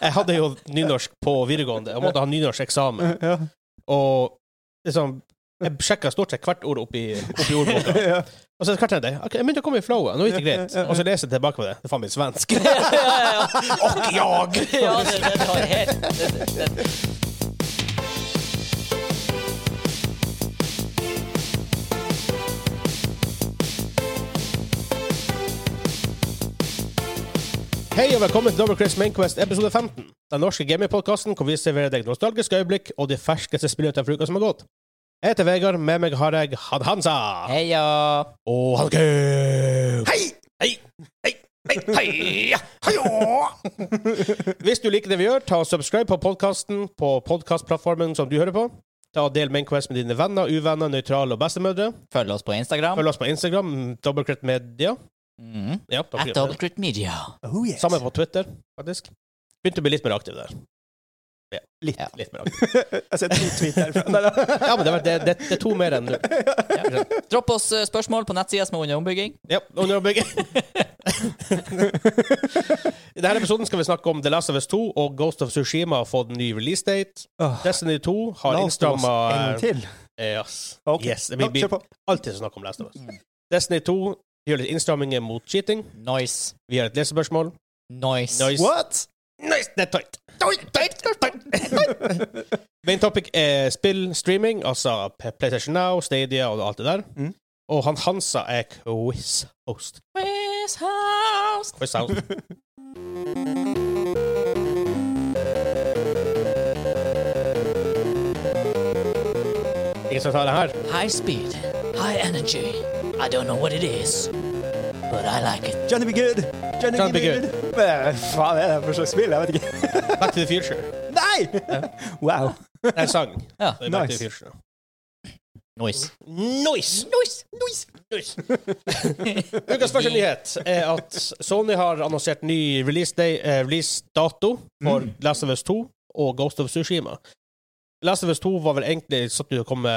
Jeg hadde jo nynorsk på videregående og måtte ha nynorskeksamen. Ja, Og liksom Jeg sjekka stort sett hvert ord oppi, oppi ordboka. ja. Og så hvert tenkte jeg ok, jeg begynte å komme i flowet. Nå gikk det greit. Og så leser jeg tilbake på det. Det er faen meg svensk. Og jag! Ja, det, det, det har helt det, det, det. Hei og velkommen til Double Chris Mainquest episode 15. Den norske gamingpodkasten hvor vi serverer deg nostalgiske øyeblikk og de ferskeste spillene fra uka som har gått. Jeg heter Vegard, med meg har jeg Hadhansa. Heia! Og Hallgeir. Hei! Hei! Hei! Hei! Hei! Heia! Hvis du liker det vi gjør, ta og subscribe på podkasten på podkastplattformen som du hører på. Ta og Del Mainquest med dine venner, uvenner, nøytrale og bestemødre. Følg oss på Instagram. Følg oss på Instagram, Doublecrit Media. Mm. Ja, takk. At Doublecrit Media. Oh, yes. Samme på Twitter, faktisk. Begynte å bli litt mer aktiv der. Litt. Ja. Litt mer aktiv. Altså, Jeg ser to tweet herfra. Nei, da. Ja, men det, var- det, det, det er to mer enn du. Ja. Dropp oss eh, spørsmål på nettsida som er under ombygging. Ja, under å bygge. I denne episoden skal vi snakke om The Last of Us 2 og Ghost of Sushima har fått ny releasedate. Åh, Destiny 2 har la oss ta oss innstramma En til. yes. Ok. Eh, yes. Det Ja, blir, blir kjør på. alltid snakk om Last of Us. Destiny 2 gjør litt innstramminger mot cheating. Nice. Vi har et lesespørsmål. Nice. Nice. What? Nice, det er tight. Tight, tight, tight, tight. Main topic er spill, streaming, altså P- PlayStation Now, Stadia og alt det der. Mm. Og han Hansa er quiz-host. Quiz house. Quiz-host. Ingen skal ta det her. High speed. High energy. I don't know what it is, but I like it. Johnny be good. Johnny, Johnny be be good. Hva faen er det for slags spill? Jeg vet ikke. Back to the future. Nei! Wow. Det er en sang. Ja. Det er Back to Nice. the future. Nice. Nice! Nice. Nice. Ukas første nyhet er at Sony har annonsert ny release, day, eh, release dato for Mm. Last of Us 2 og Ghost of Tsushima. Last of Us 2 var vel egentlig satt ut å komme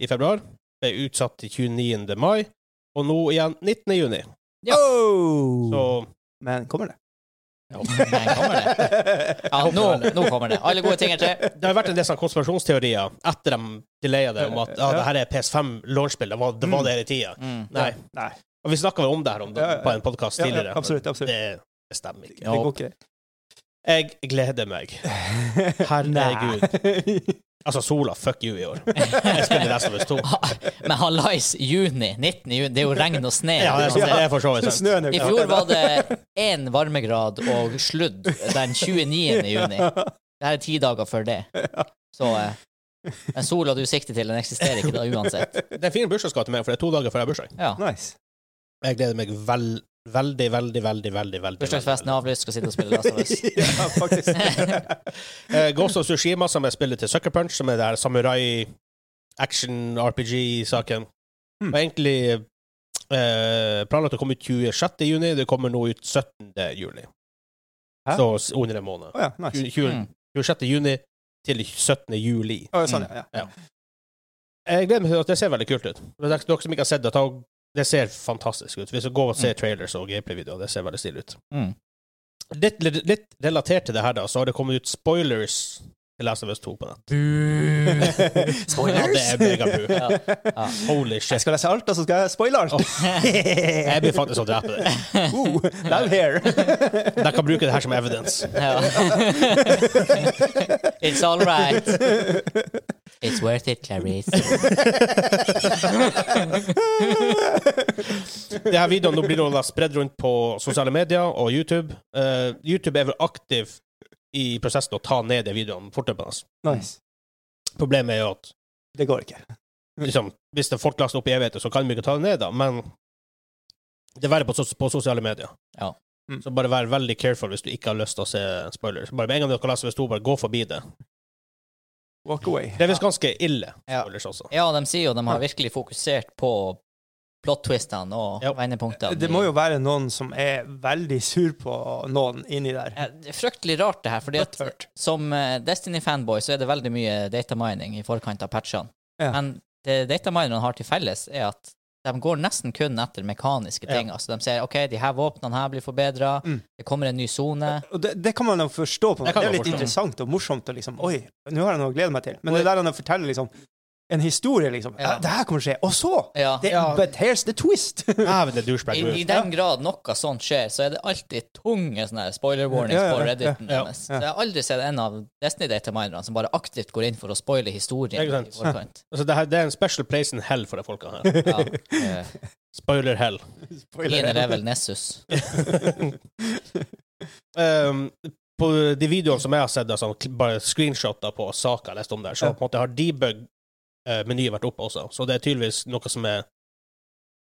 i februar, ble utsatt til 29. mai, og nå igjen 19. juni. Ja. Oh. Så Men kommer det? Ja, men kommer det? Ja, nå, nå kommer det. Alle gode ting er tre. det har vært en del sånne konspirasjonsteorier etter de delaya det, om at ja, det her er PS5 launchspill, det var det, var det hele tida. Mm. Nei. Nei. Og vi snakka vel om det her om, Ja, ja, ja. på en podkast Ja, ja, tidligere. absolutt. absolutt. Det, det stemmer ikke. Det går ikke. Jeg gleder meg. Herregud. Altså, sola, fuck you i år. Jeg spiller Last of Us 2. Men hallais, juni. 19. juni. Det er jo regn og sne. Ja, det er, sant, det er for så vidt sant. Snøen er I fjor var det én varmegrad og sludd den 29. juni. Det her er ti dager før det. Så eh, den sola du sikter til, den eksisterer ikke da uansett. Det er en fin bursdagsgave til meg, for det er to dager før jeg har bursdag. Ja. Nice. Jeg gleder meg vel, veldig, veldig, veldig. veldig, veldig Bursdagsfesten er avlyst, skal sitte og spille Last of Us. ja, faktisk. veldig. Eh, Ghost of Tsushima, som er spillet til Sucker Punch, som er det her samurai-action-RPG-saken. Mm. Og egentlig eh, planlagt å komme ut 26. juni, det kommer nå ut 17. juli. Hæ? Så s- under en måned. Å ja, nice. 20, Mm. 26. juni til 17. juli. Å, sånn, ja. ja. Jeg gleder meg til at det ser veldig kult ut. Hvis dere dere som ikke har sett det, ta og- det ser fantastisk ut. Hvis du går og ser trailers og gameplay-videoer, det ser veldig stilig ut. Mm. Litt, litt, litt relatert til det her, da, så har det kommet ut spoilers til Last of Us 2 på nett. Spoilers! Ja, det er megabu. Ja. Ja. Holy shit. Jeg skal lese alt, og så skal jeg spoile alt. Jeg blir faktisk å drepe det. Oh, down here. Dere kan bruke det her som evidence. Ja. It's all right. It's worth it, Clarice. Det her videoen nå blir nå da spredd rundt på sosiale medier og YouTube. Eh, YouTube er vel aktiv i prosessen å ta ned de videoene fortløpende. nice. Problemet er jo at Det går ikke. liksom, hvis det er folk laster opp i evigheter, så kan vi ikke ta det ned, da, men det er verre på, sos- på sosiale medier. Ja. Mm. Så bare vær veldig careful hvis du ikke har lyst til å se spoilers. Bare med en gang dere leser hvis to, bare gå forbi det. Walk away. Det er visst ganske ille, Ja. spoilers også. Ja, de sier jo de har virkelig fokusert på plot-twistene og Ja. vendepunktene. Det må jo være noen som er veldig sur på noen inni der. Ja, Det er Eh, fryktelig rart, det her, fordi at Butthurt. som eh, Destiny-fanboy så er det veldig mye datamining i forkant av patchene. Ja. Men det dataminerne har til felles, er at De går nesten kun etter mekaniske ting. Altså, de ser ok, de her våpnene her blir forbedra, Mm. det kommer en ny sone. Og det, det kan man jo forstå. på en Det måte. kan Det man er litt forstå. interessant og morsomt. og liksom, Oi, nå har jeg noe å glede meg til. Men det der han forteller liksom, en historie, liksom. Ja. Ja. Det her kommer til å skje. Og så! Ja. Det, Ja. But here's the twist! Dæven, det er douchebag. I, du. I den grad noe sånt skjer, så er det alltid tunge sånne her spoiler warnings Ja, ja, på ja, Redditen ja, ja. deres. Så jeg har aldri sett en av Destiny-dataminerne som bare aktivt går inn for å spoile historien. Ikke sant? i forkant. Altså, det, her, det er en special place in hell for de folka her. Ja. eh, Spoiler hell. Min Spoiler. level Nessus. Ehm, på de videoene som jeg har sett, altså, kl- bare screenshotter på saker jeg leste om der, så Ja. på en måte har debug-menyen vært oppe også. Så det er tydeligvis noe som er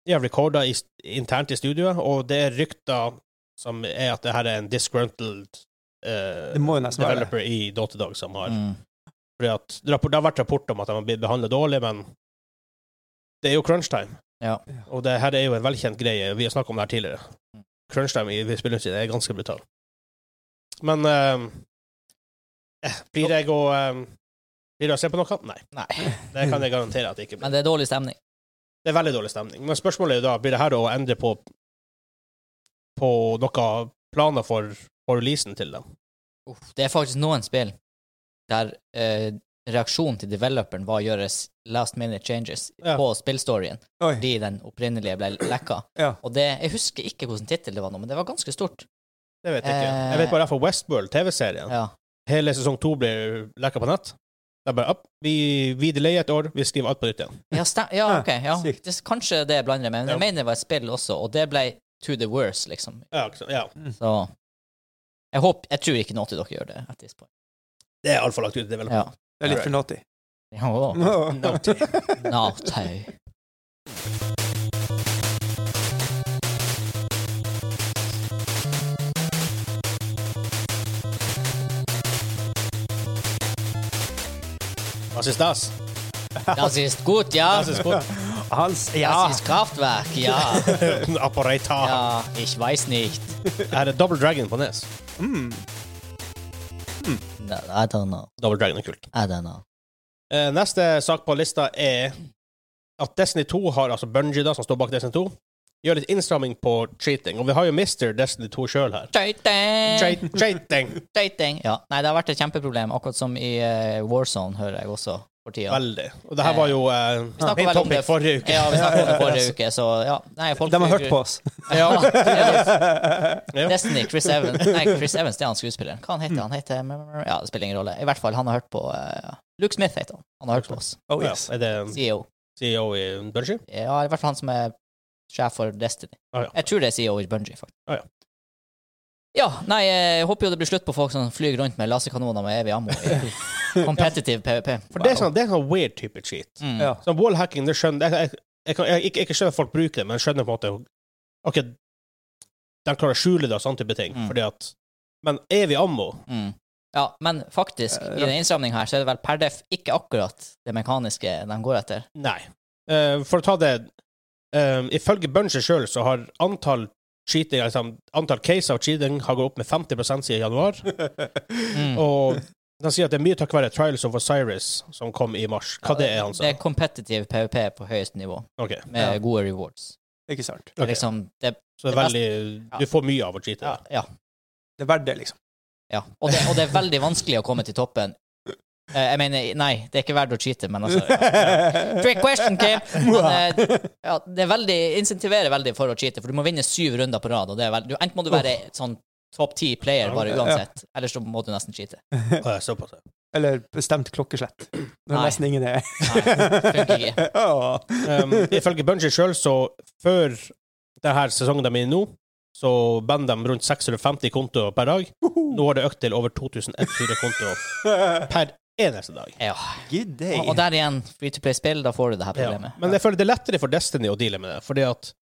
ja, recorda i, internt i studioet, og det er rykter som er at det her er en disgruntled eh, Det må jo nesten være det. developer i Dotadog som har Mm. Fordi at det har- det har vært rapport om at de har blitt behandlet dårlig, men det er jo crunchtime. Ja. Og det her er jo en velkjent greie. Vi har snakket om det her tidligere. Mm. Crunchtime i spillindustrien er ganske brutal. Men eh, eh, blir jeg å eh, Blir det å se på noe? Nei. Nei. Det kan jeg garantere at det ikke blir. Men det er dårlig stemning. Det er veldig dårlig stemning. Men spørsmålet er jo da, blir det her å endre på på noen planer for, for releasen til dem? Uff, det er faktisk noen spill der eh, reaksjonen til developeren var å gjøre s- last minute changes Ja. på spillstoryen Oi. fordi den opprinnelige ble lekka. Ja. Og det, jeg husker ikke hvilken tittel det var nå, men det var ganske stort. Det vet jeg ikke. Eh. Jeg vet bare for Westworld, TV-serien. Ja. hele sesong to blir lekka på nett. Det er bare opp. Vi, vi delayer et år, vi skriver alt på nytt igjen. Ja, stem ja Ja, ok. Ja. sykt. Det, kanskje det jeg blander jeg med, men Ja. jeg mener det var et spill også, og det ble to the worst, liksom. Ja, ikke sant? ja. Så jeg, håper, jeg tror ikke noe til dere gjør det. At this point. Det er altfor langt ut. Det er vel Ja. Det er litt for naughty. Ja, å. Naughty. Nå, tau. Was ist das? Das ist gut, ja. Das ist gut. Hans, ja. Das ist Kraftwerk, ja. Apparata. Ja, ich weiß nicht. Er det Double Dragon på Nes? Mm. No, I don't know. Double Dragon er kult. I don't know. Eh, neste sak på lista er at Destiny 2 har, altså Bungie da, som står bak Destiny 2, gjør litt innstramming på cheating. Og vi har jo Mr. Destiny 2 sjøl her. Tøyting! Cheat, cheating! Tøyting! Ja. Nei, det har vært et kjempeproblem, akkurat som i eh, Warzone, hører jeg også for tida. Veldig. Og det her var jo eh, snakker min vel om topic det- forrige uke. Ja, vi snakket om det forrige uke, så ja. Nei, folk De har hørt på oss. Ja. Ja. Destiny, Chris Evans Nei, Chris Evans, det er han skuespilleren. Hva han heter han? heter mm, Ja, det spiller ingen rolle. I hvert fall, han har hørt på eh, Luke Smith heter han. Han har hørt på oss. Oh, yes. ja, er det CEO. CEO i Bungie? Ja, i hvert fall han som er sjef for Destiny. Ah, ja. Jeg tror det er CEO i Bungie, faktisk. Ah, ja. Ja, nei, jeg håper jo det blir slutt på folk som flyr rundt med laserkanoner med evig ammo i competitive PVP. For det er sånn, det er sånn weird type cheat. Mm. Ja. Sånn wallhacking, det skjønner jeg, jeg, jeg, kan, jeg, ikke, ikke skjønner at folk bruker det, men jeg skjønner på en måte Ok, de klarer å skjule det og sånne type ting, Mm. fordi at Men evig ammo Mm. ja, men faktisk, Eh, i den innsamlingen her, så er det vel per def ikke akkurat det mekaniske de går etter. Nei. Eh, for å ta det eh, Ifølge Buncher sjøl så har antall cheating, altså antall caser av cheating har gått opp med 50 siden januar. Mm. Og de sier at det er mye takket være Trials of Osiris som kom i mars. Hva det er, altså? han sa? Det er competitive PVP på høyest nivå, Ok. med Ja. gode rewards. Ikke sant. Det er Ok. Liksom, det, Så det er veldig Du får mye av å cheate. ja, ja. Det er verdt det, liksom. Ja, og det, og det er veldig vanskelig å komme til toppen. Eh, jeg mener, nei, det er ikke verdt å cheate, men altså ja. Trick question, Kim! Men, eh, ja, det er veldig, insentiverer veldig for å cheate, for du må vinne syv runder på rad. Og det er veld, du, enten må du være sånn topp ti player bare Ja. uansett, ellers så må du nesten cheate. Eh, Såpass. Eller bestemt klokkeslett. Når Nei. nesten ingen er Nei, funker ikke. Åh. Um, ifølge Bungie sjøl, så før denne sesongen de er i nå, så bander de rundt 650 kontoer per dag. Nå har det økt til over 2100 kontoer per eneste dag. Ja. Good day. Og, og der igjen, free to play-spill, da får du det her Ja. problemet. Men jeg føler det er lettere for Destiny å deale med det, fordi at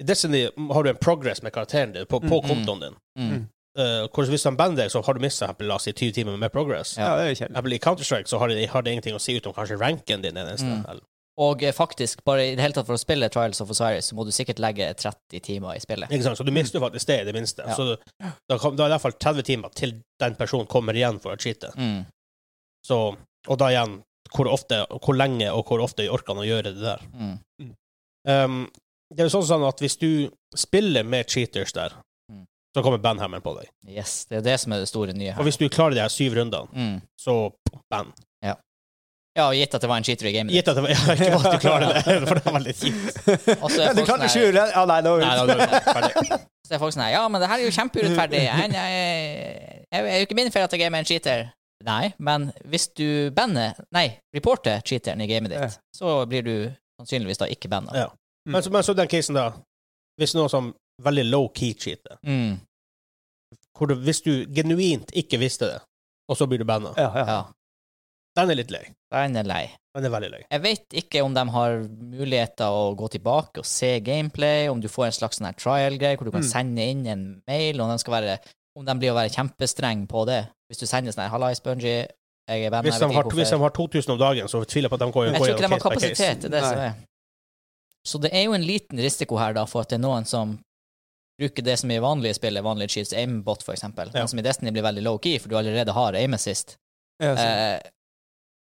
i Destiny har du en progress med karakteren din på, på Mm. kontoen din. Mm. Uh, hvordan hvis de bander deg, så har du mista la oss si 20 timer med progress. Ja. Ja, det er jo For kjedelig. eksempel I Counter-Strike så har det, har det ingenting å si utom kanskje ranken din. er den eneste. Mm. Og eh, faktisk, bare i det hele tatt for å spille Trials of Osiris, så må du sikkert legge 30 timer i spillet. Ikke sant? Så du mister jo faktisk det, i det minste. Ja. Så da, kan, da er det i hvert fall 30 timer til den personen kommer igjen for å cheate. Mm. Så, og da igjen, hvor ofte, hvor lenge og hvor ofte orker han å gjøre det der? Mm. Um, det er jo sånn sånn at hvis du spiller med cheaters der, Mm. så kommer banhammeren på deg. Yes, det er det som er det store nye Og her. hvis du klarer de her syv rundene, Mm. så ban. Ja, og gitt at det var en cheater i gamet. Gitt at det var ja, ikke bare at du klarer det, for det var veldig kjipt. Og så Ja, er du folk kan sånn ikke her- skjule Ja, nei, da Nei, da var det ferdig. Så er folk sånn her, Ja, men det her er jo kjempeurettferdig. Jeg, jeg, jeg, er jo ikke min feil at jeg gamer en cheater. Nei, men hvis du banner Nei, reporter cheateren i gamet ditt, så blir du sannsynligvis da ikke banna. Ja. Men, så- men så den casen, da. Hvis noen som veldig low-key cheater, Mm, hvor du, hvis du genuint ikke visste det, og så blir du banna, Ja, ja. ja. den er litt lei. Den er lei. Den er veldig lei. Jeg vet ikke om de har muligheter å gå tilbake og se gameplay, om du får en slags sånn her trial-greie hvor du kan Mm. sende inn en mail, og de skal være, om de blir å være kjempestreng på det. Hvis du sender sånn her 'Hallais, Bungie, jeg er banna', Hvis jeg de, vet ikke har, hvorfor». hvis de har 2000 om dagen, så tviler jeg på at de går, Jeg går tror ikke de har gjennom case by case. kapasitet til det som Nei. er. Så det er jo en liten risiko her da for at det er noen som bruker det som i vanlige spill er vanlige cheats, aimbot for eksempel, Ja. men som i Destiny blir veldig low-key, for du allerede har aim assist. Ja, så- Eh,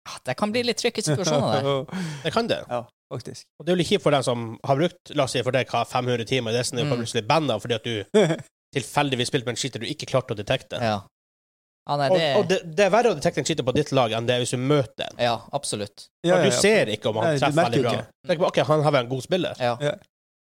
ah, det kan bli litt tricky situasjoner der. Det kan det. Ja, faktisk. Og det er jo litt kjipt for den som har brukt la oss si for deg, hva, 500 timer sånn i Destiny, og Mm. plutselig banda fordi at du tilfeldigvis spilte med en cheater du ikke klarte å detekte. Ja. Ah, nei, Og, det, og det, det er verre å detekte en cheater på ditt lag enn det er hvis du møter en. Ja, absolutt. Ja, For ja, du ja. ser ikke om Nei, han du treffer merker veldig jo bra. ikke. Tenk på, ok, han har vært en god spiller. Ja. Ja.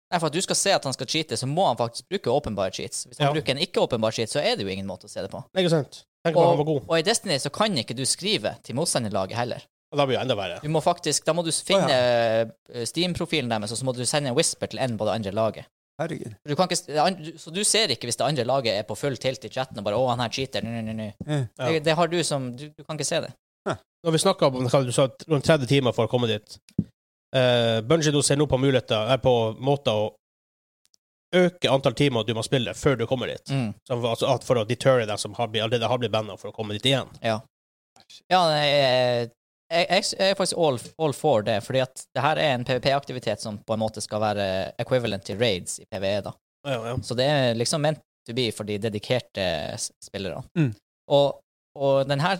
Nei, for at du skal se at han skal cheate, så må han faktisk bruke åpenbare cheats. Hvis han Ja. bruker en ikke-åpenbar cheat, så er det jo ingen måte å se det på. Ikke sant? Tenk på han var Og, god. og i Destiny så kan ikke du skrive til motstanderlaget heller. Og da blir det enda verre. Du må faktisk, da må du finne eh, Steam-profilen deres, og så må du sende en whisper til en på det andre laget. Herregud. Du kan ikke, det andre- så du ser ikke hvis det andre laget er på full tilt i chatten og bare 'Å, han her cheater', nu, nu, nu, nu. Ja. Det, det har du som Du, du kan ikke se det. Når vi snakka om hva du sa, rundt 30 timer for å komme dit uh, Bungido ser nå på muligheter, er på måter å øke antall timer du må spille før du kommer dit. Mm. Som, altså, at for å deterre dem som har, blitt- allerede har blitt banna, for å komme dit igjen. Ja, nei, jeg, jeg, jeg, jeg er faktisk all, all for det, fordi at det her er en PVP-aktivitet som på en måte skal være equivalent til raids i PVE, da. Ja, ja. Så det er liksom meant to be for de dedikerte s- spillerne. Mm. Og, og denne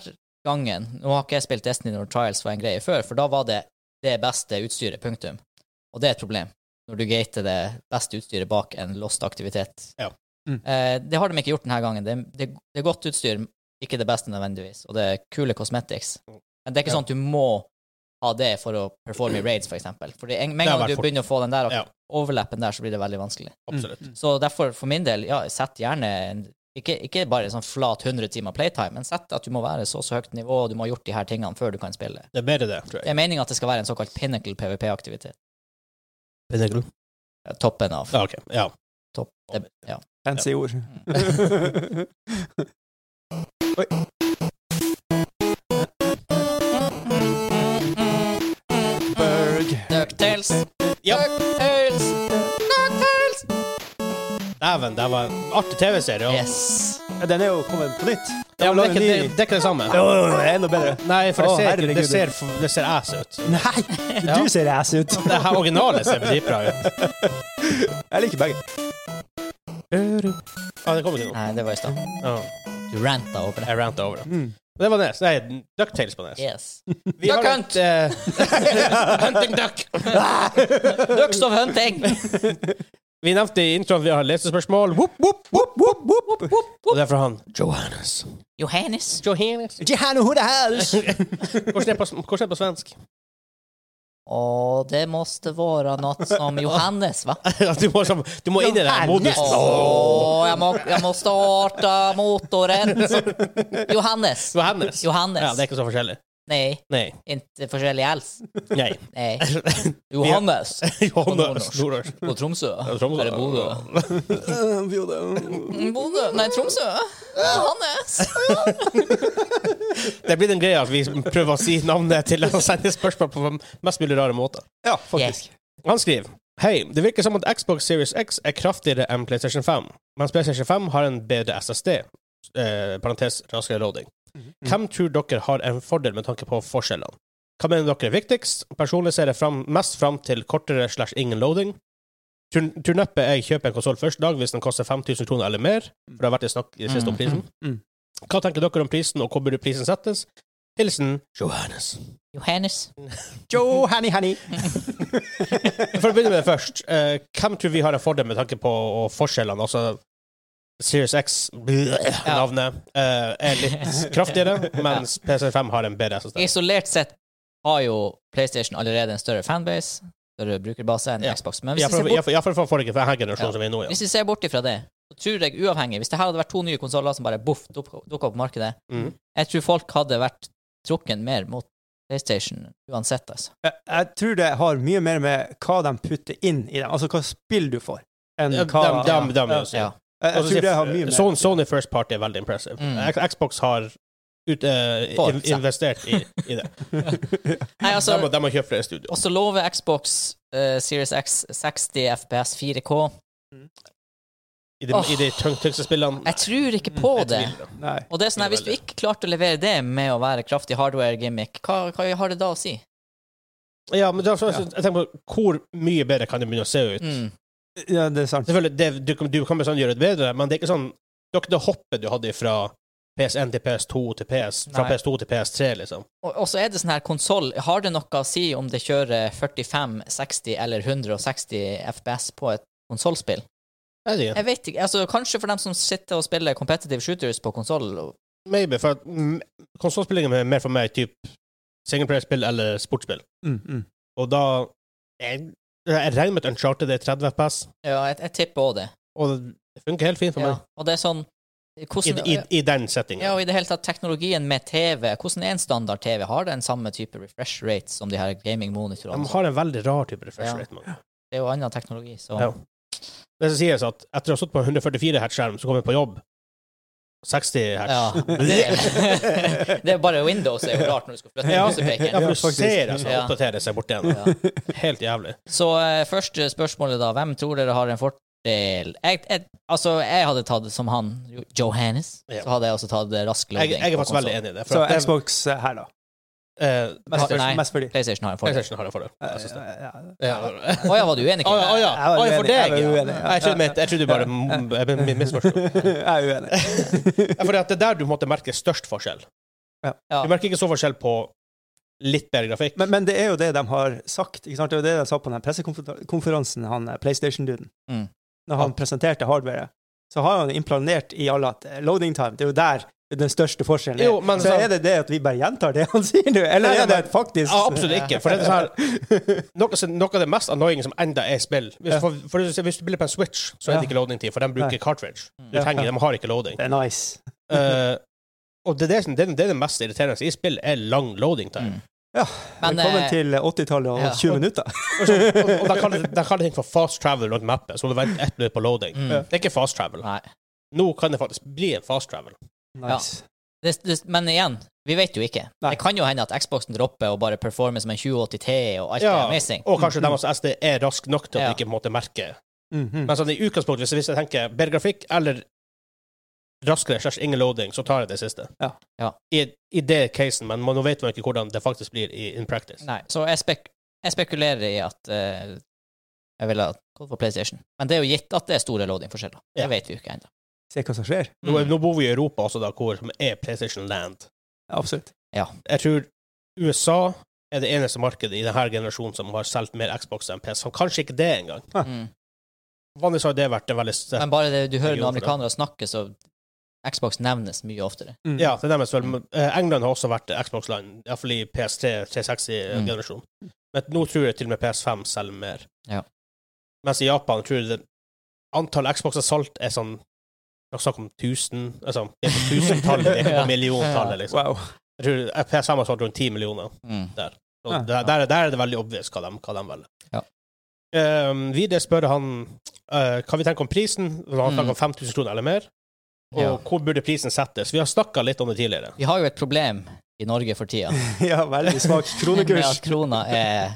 gangen Nå har ikke jeg spilt Destiny når Trials var en greie før, for da var det det beste utstyret, punktum. Og det er et problem, når du gater det beste utstyret bak en lost aktivitet. Ja. Mm. Eh, det har de ikke gjort denne gangen. Det, det, det er godt utstyr, ikke det beste nødvendigvis, og det er kule cosmetics. Men det er ikke Ja. sånn at du må ha det for å performe i raids, for eksempel. For en, Det med en har gang vært du fort. begynner å få den der Ja. overlappen der, så blir det veldig vanskelig. Absolutt. Så derfor, for min del, ja, sett gjerne en, ikke, ikke bare en sånn flat 100 timer playtime, men sett at du må være så så høyt nivå, og du må ha gjort de her tingene før du kan spille. Det er bedre det, tror Det jeg. er meningen at det skal være en såkalt pinnacle PVP-aktivitet. Ja, Toppen av. Ja, ok. Ja. Topp. Det, ja. Fancy ord. Oi. Berg. DuckTales! Ja. DuckTales! DuckTales! Dæven, det var en artig TV-serie. og- Yes. Ja, den er jo kommet på nytt. Ja, men det, er ikke, ny. det, det er ikke det samme. Jo, jo, jo, enda bedre. Nei, for det Å, ser, ikke- det herregud. ser, f- det ser ass ut. Nei, du ser ass ut. Det her originalet ser dritbra ut. Jeg liker begge. Ja, det kommer ikke noe. Nei, det var i stad. Ja, Du ranta over det. jeg ranta over det. Mm. Men Det var Nes. Nei, Ducktails på Nes. Yes. Vi har et, Duck eh, hunting duck! Ducks of hunting! Vi nevnte i introen vi har lesespørsmål. Whoop, whoop, whoop, whoop, whoop, whoop, whoop. Og det er fra han Johannes. Johannes. Johannes. Gihanno who the hells? Hvordan er det på, hvordan er det på svensk? Å, det måste vara något som Johannes, va? du, må, som- du må inn i den modusen. Åh, jag, må, jag måste starta motoren. Johannes. Johannes. Johannes. Ja, det er ikke så forskjellig. Nej, Nei. inte försäljning alls. Nei. Nej. Johannes. Johannes. Nordnorsk. På Tromsø. Ja, Tromsø. Eller Bodø. Bodø. Bodø? Nej, Tromsø. Johannes. Det blir den greia at vi prøver å si navnet til å sende spørsmål på mest mulig rare måter. Ja, faktisk. Han skriver Hei, det virker som at Xbox Series X er kraftigere enn PlayStation 5, mens PlayStation 5 har en bedre SSD, eh, parentes raskere loading. Mhm. Hvem tror dere har en fordel med tanke på forskjellene? Hva mener dere er viktigst? Personlig ser jeg fram, mest fram til kortere slash ingen loading. Tror tror neppe jeg kjøper en konsoll første dag hvis den koster 5000 kroner eller mer, for det har vært i snakk i det siste om prisen. Mm. Hva tenker dere om prisen, og hvor burde prisen settes? Hilsen Johannes. Johannes. Joe Hanny Hanny. For å begynne med det først. eh, hvem tror vi har en fordel med tanke på og forskjellene? Altså Series X-navnet er litt kraftigere, mens PC5 har en bedre SSD. Isolert sett har jo PlayStation allerede en større fanbase, større brukerbase enn Ja. Xbox. Men hvis vi ser bort Iallfall for forrige for denne generasjonen Ja. som vi er i nå, ja. Hvis vi ser bort ifra det, så tror jeg uavhengig Hvis det her hadde vært to nye konsoller som bare boff dukka opp på markedet, Mhm. jeg tror folk hadde vært trukket mer mot PlayStation uansett, altså. Jeg, jeg tror det har mye mer med hva de putter inn i dem, altså hva spill du får, enn Dem, hva dem, dem, dem, Ja. også. Ja. Jeg, jeg Og så sier- sånn, tror det har mye mer Sony, Sony First Party er veldig impressive. Mm. X- Xbox har ut, eh, For in, seg. investert i, i det. Nei, De, altså, må- de må kjøpe flere studio. og så lover Xbox eh, Series X 60 FPS 4K. I de, i de tyng- tyngste spillene. Jeg tror ikke på Jeg det. tviler. Nei. Og det er sånn her, Hvis du ikke klarte å levere det med å være kraftig hardware-gimmick, hva, hva har det da å si? Ja, men da, så, så- jeg tenker på hvor mye bedre kan det begynne å se ut? Mm. Ja, det er sant. Selvfølgelig, det, du, kan- du kan bestandig gjøre det bedre, men det er ikke sånn Det er ikke det hoppet du hadde fra PS1 til PS2 til PS Fra Nei. PS2 til PS3, liksom. Og, og så er det sånn her konsoll Har det noe å si om det kjører 45, 60 eller 160 FPS på et konsollspill? Jeg vet ikke. Jeg vet ikke. Altså, kanskje for dem som sitter og spiller competitive shooters på konsoll. Maybe, for at mm, konsollspillingen er mer for meg typ singleplayerspill eller sportsspill. Mm, mm. Og da Jeg, jeg regner med at Uncharted er 30 FPS, Ja, jeg, jeg tipper òg det. og det funker helt fint for Ja. Og det er sånn hvordan, meg. I, i, I den settingen. Ja, og i det hele tatt, teknologien med TV, hvordan er en standard TV? Har den samme type refresh rate som de her gaming-monitorene? De har en veldig rar type refresh Ja. rate. man. Det er jo annen teknologi, så Ja. Det som sies at etter å ha stått på 144 hertz-skjerm, så kommer jeg på jobb. 60 hertz. Ja. Det, det er bare Windows er jo rart når du skal flytte Ja. Ja, musepeker. for Ja, du faktisk. ser altså Ja. oppdatere seg bort igjen. Ja. Helt jævlig. Så eh, første spørsmålet, da. Hvem tror dere har en fordel? Jeg, jeg, altså, jeg hadde tatt det som han, Jo- Johannes. Ja. Så hadde jeg også tatt eh, rask Jeg, loading. jeg er på faktisk veldig konsolen. enig i det. Så at det- Xbox eh, her, da. eh, Mest, Har- nei. for, mest fordi PlayStation har en fordel. PlayStation har en fordel. Eh, Jeg synes det. ja. Ja. Å ja, var du uenig? Å ja, å ja. Jeg var Å ja, for uenig, deg, jeg var ja. uenig, ja. Jeg trodde- Jeg trodde du bare mm, jeg ble misforstått. Jeg er uenig. Ja, for det er der du måtte merke størst forskjell. Ja. Du merker ikke så forskjell på litt bedre grafikk. Men, men det er jo det de har sagt. Ikke sant? Det er jo det de sa på den pressekonferansen, han eh, PlayStation-duden. Mm. Når han presenterte hardwaret, så har han implanert i alle at eh, loading time, det er jo der den største forskjellen er. Jo, men så så- er det det at vi bare gjentar det han sier nå, eller Nei, er det men- et faktisk Ja, absolutt ikke. For det er sånn her, noe, som- noe av det mest annoying som enda er spill Hvis, Ja. for, for hvis du- hvis du spiller på en Switch, så er det Ja. ikke loading-tid, for de bruker Nei. cartridge. Du Ja. trenger, De har ikke loading. Det er nice. Eh, og det er det, som- det, er det er det mest irriterende i spill, er lang loading-time. Mm. Ja, Men, Velkommen eh, til eh, 80-tallet og ja. 20 minutter. Og, så, og, og de kaller det- de kaller ting for fast travel rundt mappet, så du venter ett minutt på loading. Mm. Det er ikke fast travel. Nei. Nå kan det faktisk bli en fast travel. Nice. Det, det, men igjen, vi vet jo ikke. Nei. Det kan jo hende at Xboxen dropper og bare performer som en 2080 T, og alt er amazing. Mm. og kanskje dem hos SD er rask nok til at Ja. du ikke måtte merke Mhm. Men sånn i utgangspunktet, hvis- hvis jeg tenker bedre grafikk eller raskere slash ingen loading, så tar jeg det siste. Ja. Ja. I, I det casen, men man, nå vet man ikke hvordan det faktisk blir i, in practice. Nei, så jeg, spek jeg spekulerer i at eh, jeg ville ha gått for PlayStation. Men det er jo gitt at det er store loading-forskjeller. Det Ja. vet vi jo ikke ennå. Se hva som skjer. Nå, Mm. er- nå bor vi i Europa også, da, hvor som er PlayStation Land. Absolutt. Jeg tror USA er det eneste markedet i denne generasjonen som har solgt mer Xbox enn PS. Så Kanskje ikke det engang. Mm. Vanligvis har det vært en veldig sterk Men bare det, du hører Jeg når gjorde det. amerikanere snakker, så Xbox nevnes mye oftere. Mm. Ja, det nevnes vel. men, eh, England har også vært Xbox-land, iallfall i PS3 360-generasjonen. Men nå tror jeg til og med PS5 selger mer. Mm. Ja. Mens i Japan tror jeg det, antall Xboxer solgt er sånn Det er snakk om tusen altså, Det er på tusentallet, det er ikke Ja. på milliontallet, liksom. Wow. Jeg tror eh, PS5 har solgt rundt ti millioner. Mm. Så Ja. der, der, der er det veldig obvious hva de, hva de velger. Ja. Ehm, videre spør han eh, hva vi tenker om prisen. Han Mm. snakker om 5000 kroner eller mer. Og Ja. hvor burde prisen settes? Vi har snakka litt om det tidligere. Vi har jo et problem i Norge for tida ja, veldig svak med kronekurs. at krona er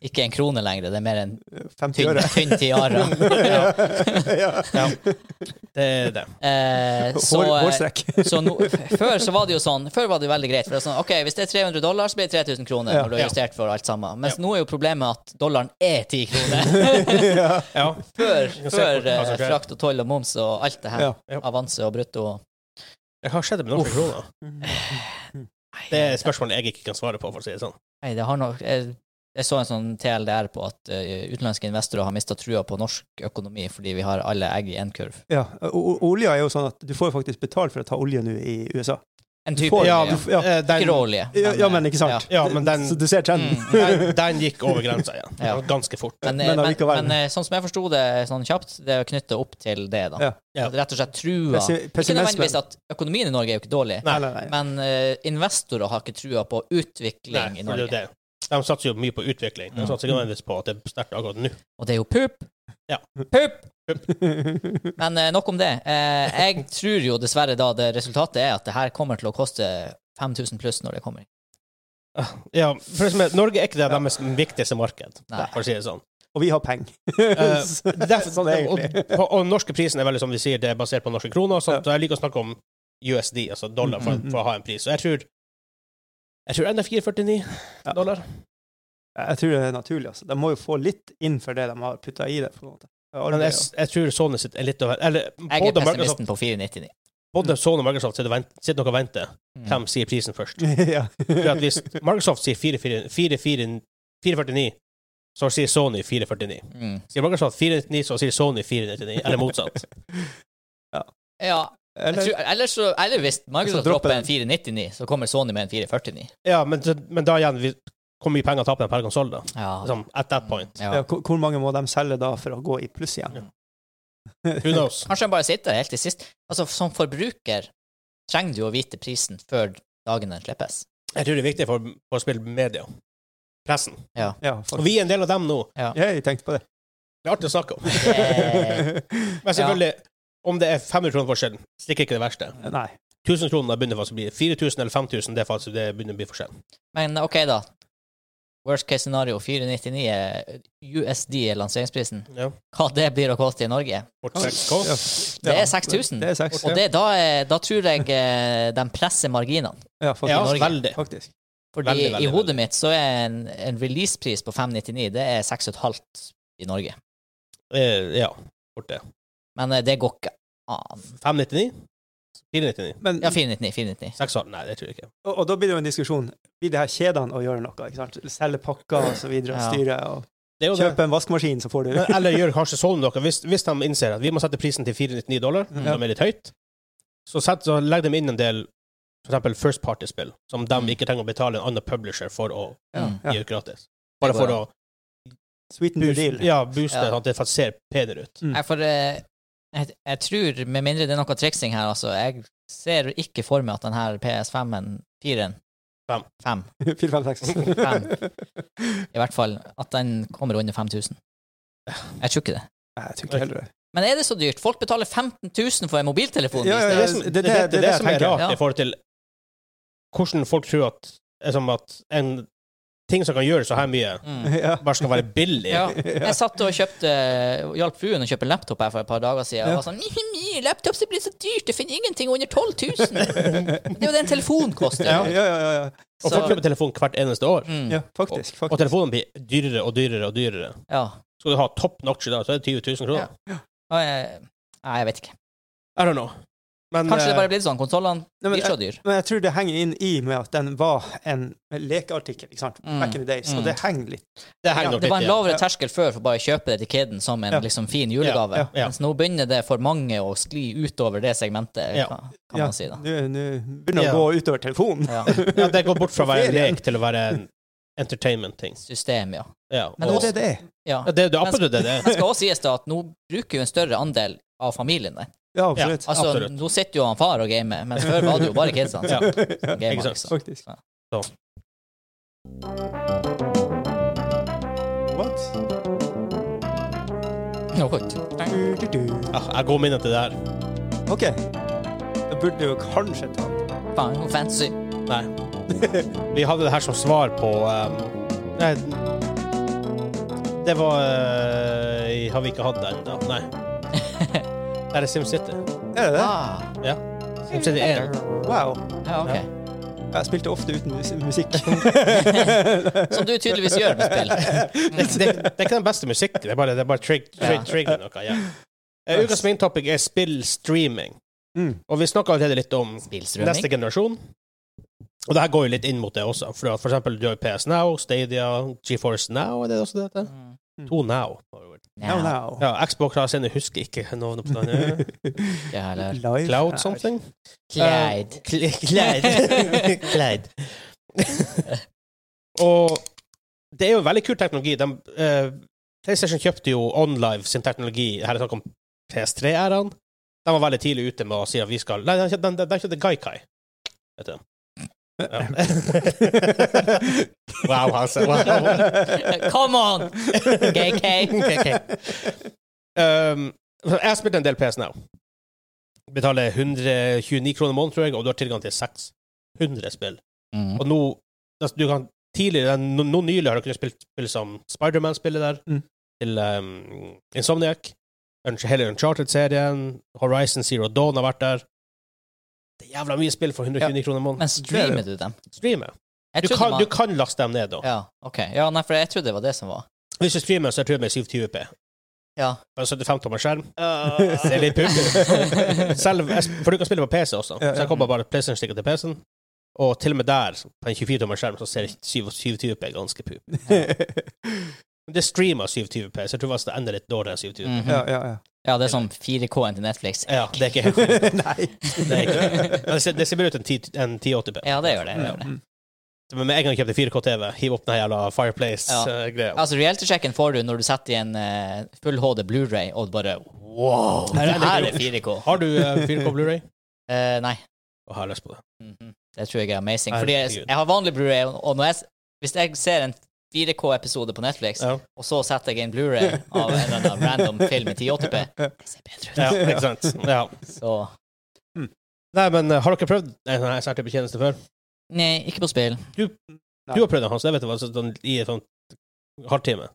ikke en krone lenger, det er mer en 50 tynn, øre. tynn tiara. ja. ja. Det er det. Eh, så, Hår, hårstrekk. så nå- før så var det jo sånn Før var det jo veldig greit. For det var sånn, ok, Hvis det er 300 dollar, så blir det 3000 kroner. Ja. Når du er Ja. justert for alt sammen Mens Ja. nå er jo problemet at dollaren er 10 kroner. ja. Ja. Før, Vi kan se før hva eh, som skjer. frakt og toll og moms og alt det her. altså, Ja. Ja. Avanse og brutto. og- Mm. Hva skjedde med norske kroner? Nei, Det er et spørsmål jeg ikke kan svare på, for å si det sånn. Nei, det har nok jeg, jeg så en sånn TLDR på at eh, utenlandske investorer har mista trua på norsk økonomi fordi vi har alle egg i en kurv. Ja, o- o- Olja er jo sånn at du får jo faktisk betalt for å ta olje nå i USA. En type Får- olje, eh, Ja, ja. du- ja. Eh, den, Ikke råolje. Ja, ja, men ikke sant? Ja, men den- Så du ser trenden. Mm. den, den gikk over grensa igjen. Ja. Ganske fort. Men, Men men, men, allikevel. eh, sånn som jeg forsto det sånn kjapt, det er knytta opp til det, da. Ja. Ja. At Rett og slett trua Pessi- Ikke pessimismen. nødvendigvis at økonomien i Norge er jo ikke dårlig, Nei, nei, nei. men eh, investorer har ikke trua på Nei, utvikling i for det er jo Norge. det. De satser jo mye på utvikling. De satser ikke nødvendigvis på at det er sterkt akkurat nå. Og det er jo pup! Ja. Pup! Men eh, nok om det. Eh, jeg tror jo dessverre da det resultatet er at det her kommer til å koste 5000 pluss når det kommer. Ja, for det som er, Norge er ikke det deres viktigste marked, Nei. for å si det sånn. Og vi har penger. Eh, Så- derfor- sånn er det egentlig. og, og, og norske prisen er veldig som vi sier, det er basert på norske kroner. og Sånt, Så jeg liker å snakke om USD, altså dollar, for, Mm-hmm. for å ha en pris. Og jeg tror jeg tror enda 449 Ja. dollar. Jeg tror det er naturlig. altså. De må jo få litt inn for det de har putta i det. på en måte. Men jeg, jeg tror Sony sitt er litt over Eller Jeg er både Microsoft, pessimisten på 499. både Sony og Microsoft sitter, og vent, sitter nok og venter. Mm. Hvem sier prisen først? ja. For at hvis Microsoft sier 44 44 449, så sier Sony 449. Mm. Sier Microsoft 499, så sier Sony 499. Eller motsatt. Ja. Jeg Eller, tror, eller, så, eller hvis Microsoft dropper dropper den. en 499, så kommer Sony med en 449. Ja, men, men da igjen vi, Hvor mye penger taper de per konsoll, da? Ja. Liksom, at that point. Ja. ja, hvor hvor mange må de selge da for å gå i pluss igjen? Who knows? Kanskje han bare sitter helt til sist. Altså, som forbruker trenger du å vite prisen før dagen den slippes. Jeg tror det er viktig for, for å spille media. Pressen. Ja, Og faktisk. vi er en del av dem nå. Jeg tenkte på det. Det er artig å snakke om. Eh, Men selvfølgelig, om det er 500 kroner forskjell, stikker ikke det verste. Nei. 1000 kroner begynner faktisk å bli 4000 eller 5000, det er faktisk det begynner å bli forskjell. men ok, da. Worst case scenario eh, 499 er USD er lanseringsprisen. Ja. Hva det blir å koste i Norge? Fort 6K. Ja. Det Ja, er 6000. Det er 6000. Og det, da, er, da tror jeg eh, de presser marginene. Ja, faktisk. Ja, I Norge. veldig. faktisk. Fordi Veldig, veldig, i hodet mitt så er en, en releasepris på 599 det er 6,5 i Norge. Eh, Ja, fort det. Men eh, det går ikke an. 599? 499? Men, Ja, 499. 499. 6,5? Nei, det tror jeg ikke. og, og da blir det jo en diskusjon. Blir det her kjedene å gjøre noe? ikke sant? Selge pakker og så videre, og Ja. styre og Det er jo det. Kjøpe en vaskemaskin, så får du Men- Eller gjør kanskje sånn noe. Hvis, hvis de innser at vi må sette prisen til 499 dollar, Mm. som er litt høyt, så, sett, så legger de inn en del for eksempel first party-spill, som de ikke trenger å betale en annen publisher for å Ja, Mm. ja. gi ut gratis. Bare for å Sweeten the booste, deal. ja, booste Ja. sånn at det faktisk ser penere ut. Mm. Nei, for eh, jeg, jeg tror, med mindre det er noe triksing her, altså Jeg ser ikke for meg at den her PS5-en, 4-en Fem. fem, 4, 5, 6. Fem. i hvert fall, at den kommer under 5000. Jeg tror ikke det. Nei, jeg tror ikke heller det. Men er det så dyrt? Folk betaler 15 000 for en mobiltelefon. Ja, Det ja, er ja. det, som- det- det, er det- det, det jeg som er tenker. rart Ja. i forhold til hvordan folk tror at, er som at en ting som kan gjøre så her mye, Mm. Ja. bare skal være billig. Ja. Jeg satt og kjøpte hjalp fruen å kjøpe laptop her for et par dager siden. Og var sånn «Mi, mi, Laptop det blir så dyrt, jeg finner ingenting under 12 000. Det er jo det en telefon koster. Ja, ja, ja, ja. Og folk Så- kjøper telefon hvert eneste år. Mm, ja faktisk. Og faktisk. telefonen blir dyrere og dyrere og dyrere. ja. Skal du ha top notch i dag, så er det 20 000 kroner. Ja. Og jeg, nei, jeg vet ikke. I don't know. Men Kanskje det eh, bare blir sånn. Konsollene Nei, men blir så dyre. Men jeg tror det henger inn i med at den var en lekeartikkel, ikke sant, Mm. back in the days, Mm. og det henger litt. det henger Ja, nok Det var litt en igjen. lavere Ja. terskel før for bare å kjøpe det til kiden som en Ja. liksom fin julegave. Ja, ja, ja. Mens nå begynner det for mange å skli utover det segmentet, Ja. kan, kan Ja. man si. da. Nå nå begynner det Ja. å gå utover telefonen. Ja. Ja, det går bort fra å være en Ferien. lek til å være en entertainment-ting. System, ja. Ja, Men Det og- er det det er. ja. ja, det er jo absolutt det det er. Men skal også sies da at nå bruker jo en større andel av familien det. Ja, absolutt. Altså, Absolutt. Nå sitter jo han far og gamer, mens før var det jo bare kidsene. Ja. som- som gamer, ikke sant. liksom. Faktisk. Ja. Så. What? Oi. Du, du, du. Ja, jeg går minnet til det her. OK. Da burde du jo kanskje ta den. Final Fantasy. Nei. Vi hadde det her som svar på eh, Nei. Det var eh, Har vi ikke hatt det ennå? Nei. Det er SimCity. Er det det? Ah, Ja. SimCity 1. Wow. ja, ok. Jeg spilte ofte uten mus musikk. Som du tydeligvis gjør med spill. Mm. Det, det, det er ikke den beste musikken, det er bare, det er bare trig, trig, Ja. trigger noe. Ja. Eh, Ukas main topic er spill-streaming. Mm. Og vi snakka allerede litt om Bilstrømming. neste generasjon. Og det her går jo litt inn mot det også. For, for eksempel du har jo PS Now, Stadia, GeForce Now, er det også det heter? Mm. To Now. har det vært. No, Ja, no. Ja, Xbox har sine, husker ikke navnet på Sånn, den. eh? det her er Live Cloud er- something? Kleid. Eh, Kle- Kleid. Kleid. Og det er jo veldig kul teknologi. De, eh, PlayStation kjøpte jo OnLive sin teknologi. Her er snakk om PS3-æraen. De var veldig tidlig ute med å si at vi skal Nei, de kjøpte- de, de, de kjøpte Gaikai. Vet du. Ja. wow, altså. Wow. Come on! GK. Ok. Um, jeg spilte en del PS Now. Betaler 129 kroner i måneden, tror jeg, og du har tilgang til 600 spill. Mm. Og nå altså, du kan, tidligere, nå, nå nylig har du kunnet spille spill som Spiderman-spillet der, Mm. til um, Insomniac. Unch- Hele Uncharted-serien, Horizon Zero Dawn har vært der. Det er jævla mye spill for 129 kroner i måneden. Men streamer du dem? Streamer. Jeg Du trodde kan, man- du kan laste dem ned, da. Ja, ok. Ja, nei, for jeg trodde det var det som var. Hvis du streamer, så tror jeg det er 720p. Ja. På en 75 tommer skjerm. Ah. Det er litt pumping. Selv, jeg- for du kan spille på PC også, Ja, ja. så jeg kommer bare PlayStation stikker til PC-en. Og til og med der, på en 24 tommer skjerm, så ser 720p ganske pup. Men Det streamer 720p, så jeg tror faktisk det ender litt dårligere enn 720p. Mhm. ja, ja, ja. ja, det er sånn som 4K-en til Netflix. Ja, det er ikke helt korrekt. Nei. Det, er ikke. Men det ser- det ser bedre ut enn 10 enn 1080p. Ja, det gjør det. det, gjør det. Men med en gang jeg kjøpte 4K-TV, hiv opp den her jævla eh, Fireplace-greia. Altså, Reality-sjekken får du når du setter i en eh, full HD Blu-ray og bare Wow! Nei, Det det er her det er 4K. Har du eh, 4K Blu-ray? Eh, nei. Å, har jeg lyst på det. Mhm. Det tror jeg er amazing. Fordi jeg, Herregud. jeg har vanlig Blu-ray, og og når jeg, s- hvis jeg ser en 4K-episode på Netflix, Ja. og så setter jeg inn Blu-ray av en eller annen random film i 1080P, det ser bedre ut. Ja, ikke sant. Ja. Så Nei, men eh, har dere prøvd en sånn type tjeneste før? Nei, ikke på spill. Nei. Du har prøvd den, Hans. Jeg vet det var sånn, i en sånn halvtime.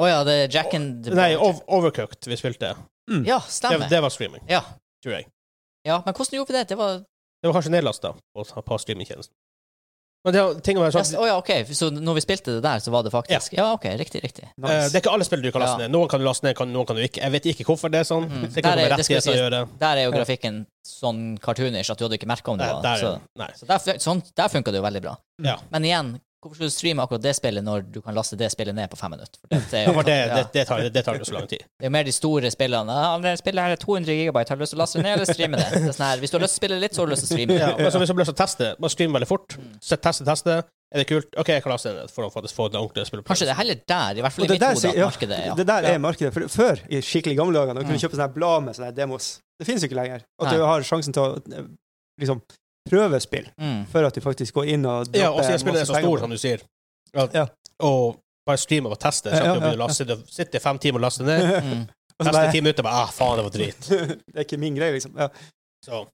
Å ja, det er Jack and the Nei, ov Overcooked vi spilte. Ja, Det, stemmer. det var streaming, Ja. tror jeg. ja, men hvordan gjorde vi det? Det var Det var kanskje nedlasta på, på streamingtjenesten. Men det, er- ting er Å sånn, ja, OK. Så når vi spilte det der, så var det faktisk Ja, OK. Riktig, riktig. Eh, Nice. Det er ikke alle spill du kan laste Ja. ned. Noen kan du laste ned, kan, noen kan du ikke. Jeg vet ikke hvorfor det er sånn. Mm. Sikkert Der noe er- med det skulle rettigheter å gjøre. Der er jo grafikken sånn cartoonish at du hadde ikke merka om det Nei, var der, er så, det. nei. så der, fun- sånn, der funka det jo veldig bra. Ja. Men igjen, hvorfor skal du streame akkurat det spillet når du kan laste det spillet ned på fem minutter? For det, er Ja, jo- sånn, for det, ja. det, det, tar, det tar jo så lang tid. Det er jo mer de store spillene. Ja, det spillet her er 200 gigabyte, har du lyst til å laste det ned eller streame det? det er sånn her, hvis du har lyst til å spille litt, så har du lyst til å streame det. Ja, men så hvis du blir så teste, bare stream veldig fort. Mm. Så teste, teste. Er det kult? OK, jeg kan laste det ned for å faktisk få det ordentlige spillet. Kanskje det er heller der, i hvert fall Og det i mitt der hode, sier- at ja, markedet er ja. Mm. Det der er markedet. For før, i skikkelig gamle dager, da kunne du kjøpe sånne her blad med sånne her demos. Det finnes jo ikke lenger. At du Nei. har sjansen til å eh, liksom prøve spill Mm. før at du faktisk går inn og Ja, og dropper siden spillet er så stor, masse penger på som du sier, at, Ja. og bare streame og teste, så Ja, at du ja, begynner å laste, du sitter i fem timer og laster ned, Mm. det. Og så neste bare, ti minutter bare ah, faen, det var drit. det er ikke min greie, liksom. Ja. Så.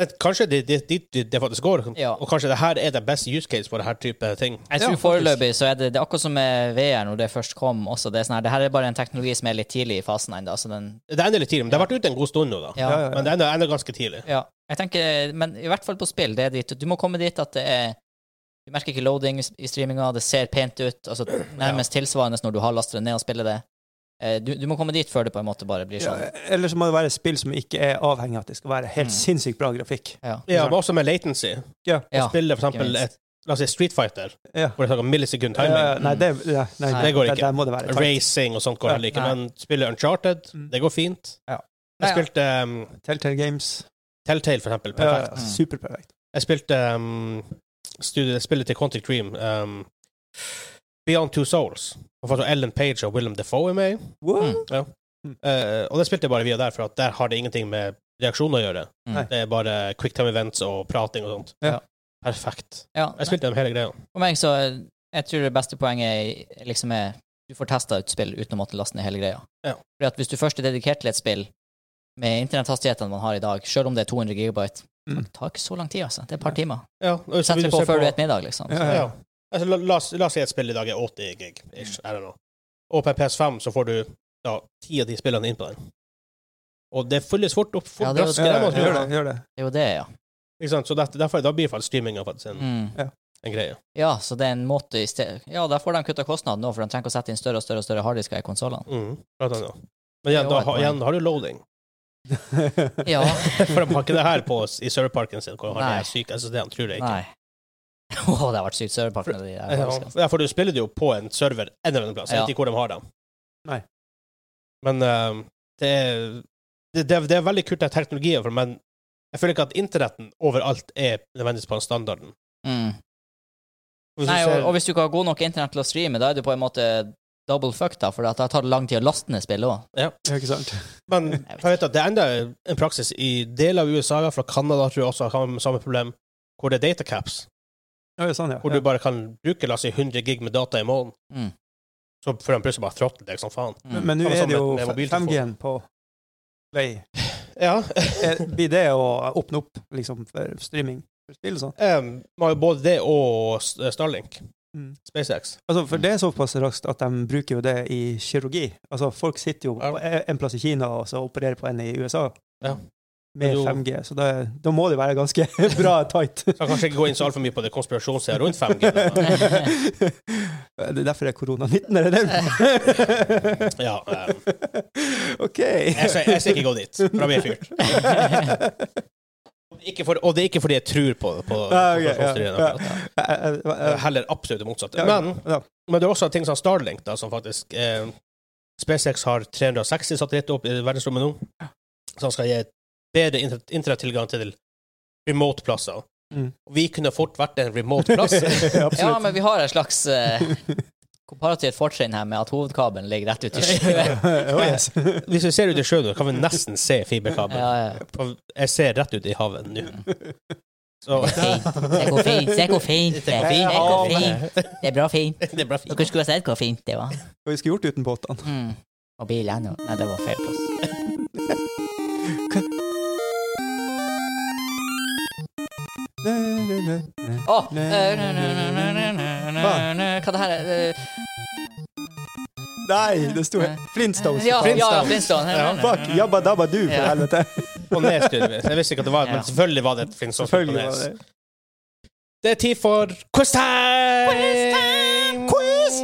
Men kanskje det det- dit det, det faktisk går, Ja. og kanskje det her er det beste use case for det her type ting. Jeg Ja, tror faktisk. foreløpig så er det, det er akkurat som med VR, når det først kom også. Det er sånn her, det her er bare en teknologi som er litt tidlig i fasen ennå, så den Det ender litt tidlig, men det har vært ute en god stund nå, da. Ja, ja. ja, ja. Men det ender, ender ganske tidlig. Ja, jeg tenker, men i hvert fall på spill, det er dit. Du må komme dit at det er Du merker ikke loading i s- i streaminga, det ser pent ut. Altså nærmest tilsvarende når du har lastet det ned og spiller det. Eh, Du, du må komme dit før det på en måte bare blir Ja, sånn. eller så må det være spill som ikke er avhengig av at det skal være helt Mm. sinnssykt bra grafikk. Ja. Ja, men også med latency. Ja. Ja, Spiller for ikke eksempel minst. et, la oss si Street Fighter, Ja. hvor det er snakk om millisekund Ja, timing. Mm. ja, Eh, nei, det, ja, nei, Nei, det går der- ikke. Der må det være tight. Racing og sånt går Ja, heller ikke, nei. men spiller Uncharted, Mm. det går fint. Ja. Jeg Ja, ja. spilte um, Telltale Games. Telltale, for eksempel. Ja, Perfekt. ja, Mm. superperfekt. Jeg spilte um, studiet, spillet til Quantic Dream, um, Beyond Two Souls. Og for at Ellen Page og Willem Defoe er med. i. Wow. Mm. Eh, og det spilte jeg bare via der, for at der har det ingenting med reaksjon å gjøre. Mm. Det er bare quick time events og prating og sånt. Ja. Perfekt. ja. Jeg spilte dem hele greia. For meg så eh, Jeg tror det beste poenget er liksom er du får testa ut spill uten å måtte laste ned hele greia. Ja. Fordi at Hvis du først er dedikert til et spill med internetthastighetene man har i dag, selv om det er 200 gigabyte, Mm. det tar ikke så lang tid, altså. Det er et par timer. Ja, og så Setter vil det på se før du vet middag, liksom. Ja, Ja. ja. Altså, la, la, oss- la oss si et spill i dag er 80 gig, ish, I don't know. Og på en PS5 så får du da, 10 av de spillene inn på den. Og det fylles fort opp. Fort, Ja, det er jo- raskt, Ja, ja, det må man gjør gjøre. det. Gjør det. Det er jo det, ja. Ikke sant? Så det, derfor, da blir faktisk streaminga faktisk en, Mm. en greie. Ja, så det er en måte i sted... Ja, der får de kutta kostnaden nå, for de trenger ikke å sette inn større og større og større harddisker i konsollene. Mm. Blant annet. Men igjen, Det da, er også et har- poeng. igjen har du loading. Ja. For de har ikke det her på oss i serverparken sin, hvor de har Nei. de syke SSD-ene, tror jeg ikke. Nei. Å, det har vært sykt serverpark med de der Ja, menneskene. Ja, for du spiller det jo på en server en eller annen plass. Jeg Ja. vet ikke hvor de har dem. Nei. Men eh, det, er, det, det, er- det er veldig kult, den teknologien, for, men jeg føler ikke at internetten overalt er nødvendigvis på den standarden. Mm. Hvis du Nei, og, ser- og hvis du ikke har god nok internett til å streame, da er du på en måte double fucked, da, for at det har tatt lang tid å laste ned spillet òg. Det er ikke sant. Men jeg vet at det er enda en praksis i deler av USA, fra Canada tror jeg også har samme problem, hvor det er datacaps, Ja, sånn, ja. hvor du bare kan bruke la oss si 100 gig med data i måneden, Mm. så får de plutselig bare throttle deg som faen. Men- Mm. Men nå Samme er som det jo med- med mobiltelefon. 5G-en på vei. Ja, Eh, Er- Blir det å åpne opp liksom, for streaming for spill og sånn? em, man har jo eh, um, både det og S- eh, Starlink, Mm. SpaceX. Altså, for det er såpass raskt at de bruker jo det i kirurgi. Altså, folk sitter jo Ja. på en plass i Kina og så opererer på en i USA. Ja. Med Men du- 5G, så da, da må det være ganske bra tight. Så jeg kan kanskje ikke gå inn så altfor mye på det konspirasjonssida rundt 5G. men- det er derfor det er korona-19, er det det? Ja, em, OK. jeg skal jeg skal ikke gå dit, for da blir jeg fyrt. Ikke for, og det er ikke fordi jeg tror på, på Ah, ok, ja, konspirasjonsteorien, ja. akkurat. Eh, eh, eh, Heller absolutt det motsatte. ja, Men ja. Men det er også ting som Starlink, da, som faktisk eh, SpaceX har 360 satellitter opp i verdensrommet nå, som skal gi bedre inter- internettilgang til remote-plasser. Mm. Vi kunne fort vært en remote-plass. Ja, Absolutt. men vi har et slags eh, komparativt fortrinn her med at hovedkabelen ligger rett ut i sjøen. Oh, yes. Hvis vi ser ut i sjøen, nå, kan vi nesten se fiberkabel. Ja, ja. Og Jeg ser rett ut i havet nå. Så Det er fint. Det går fint. Det går fint. Det, går fint. det går fint. Det er bra fint. det er bra fint. Dere skulle ha sett hvor fint det var. Og vi skulle gjort det uten båtene. Mm. Og bilene og Nei, det var feil plass. Å! eh, Hva det her er eh, Nei, det sto Flintstones. Eh, Ja, ja, ja, Flintstones. Flintstone. Ja, fuck, Jabba Dabba Du, for Ja. helvete. På Nes, tydeligvis. Jeg visste ikke at det var Ja. men selvfølgelig var det et Flintstones på Selvfølgelig var Nes. det Det er tid for quiz time! Quiz time! Quiz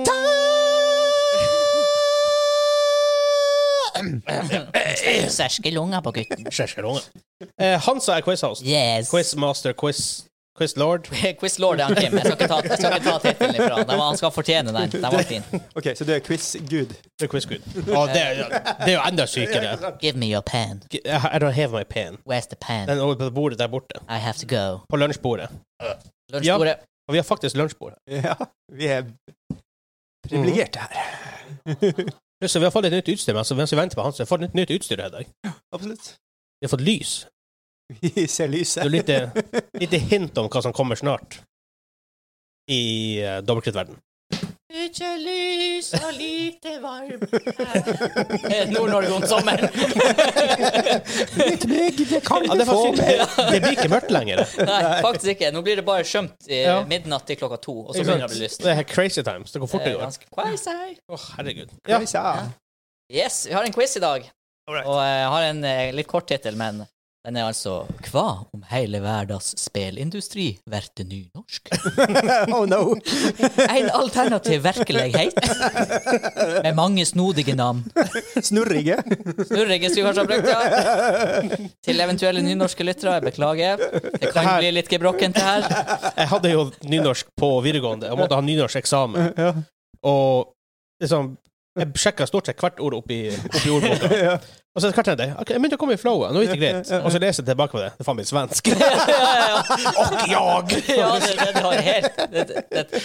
Serske lunger på gutten. Eh, Hansa er quizhost. Yes. Quizmaster, quiz, quizlord. Quiz lord er han Kim. Jeg skal ikke ta, jeg skal ikke ta tittelen ifra han. Den var- Han skal fortjene den. Den var fin. OK, så du er quiz-gud. Det er quizgud. Å, det, er- det er jo enda sykere. Give me your pen. I I don't have my pen. Where's the pen? Den er over på bordet der borte. I have to go. På lunsjbordet. Lunsjbordet. Og vi har faktisk lunsjbord. Ja, vi er privilegerte her. Pluss, vi har fått et nytt utstyr mens mens vi venter på Hansa. Vi har fått et nytt utstyr i dag. Mm. Absolutt. Vi har fått lys. Vi Det ser er lyset. jo lite, lite hint om hva som kommer snart i uh, dobbeltkrittverden. Ikke lys og lite varm. Nord-Norge om sommeren. Litt mygg, det kan Ja, det, er faktisk- det blir ikke mørkt lenger. Nei, faktisk ikke. Nå blir det bare skjømt i Ja. midnatt til klokka to, og så Ikke begynner sant? det å bli lyst. Det er helt crazy times. Det går fort Det det er går. ganske crazy. Å, herregud. Ja. Ja. Ja. Yes, vi har en quiz i dag. Alright. Og jeg har en eh, litt kort tittel, men den er altså Hva om hele verdens spelindustri verte nynorsk? Oh no. En alternativ virkelighet med mange snodige navn. Snurrige. Snurrige skulle kanskje ha brukt det. Til eventuelle nynorske lyttere, jeg beklager. Det kan her- bli litt gebrokkent, det her. Jeg hadde jo nynorsk på videregående. Jeg måtte ha nynorskeksamen. Ja. Og liksom Jeg sjekka stort sett hvert ord oppi, oppi ordboka. Ja. Og så hvert tenkte jeg ok, jeg begynte å komme i flowet. Nå gikk det greit. Og så leser jeg tilbake på det. Det er faen meg svensk. Og jag! Ja, det, det, det har helt det, det, det,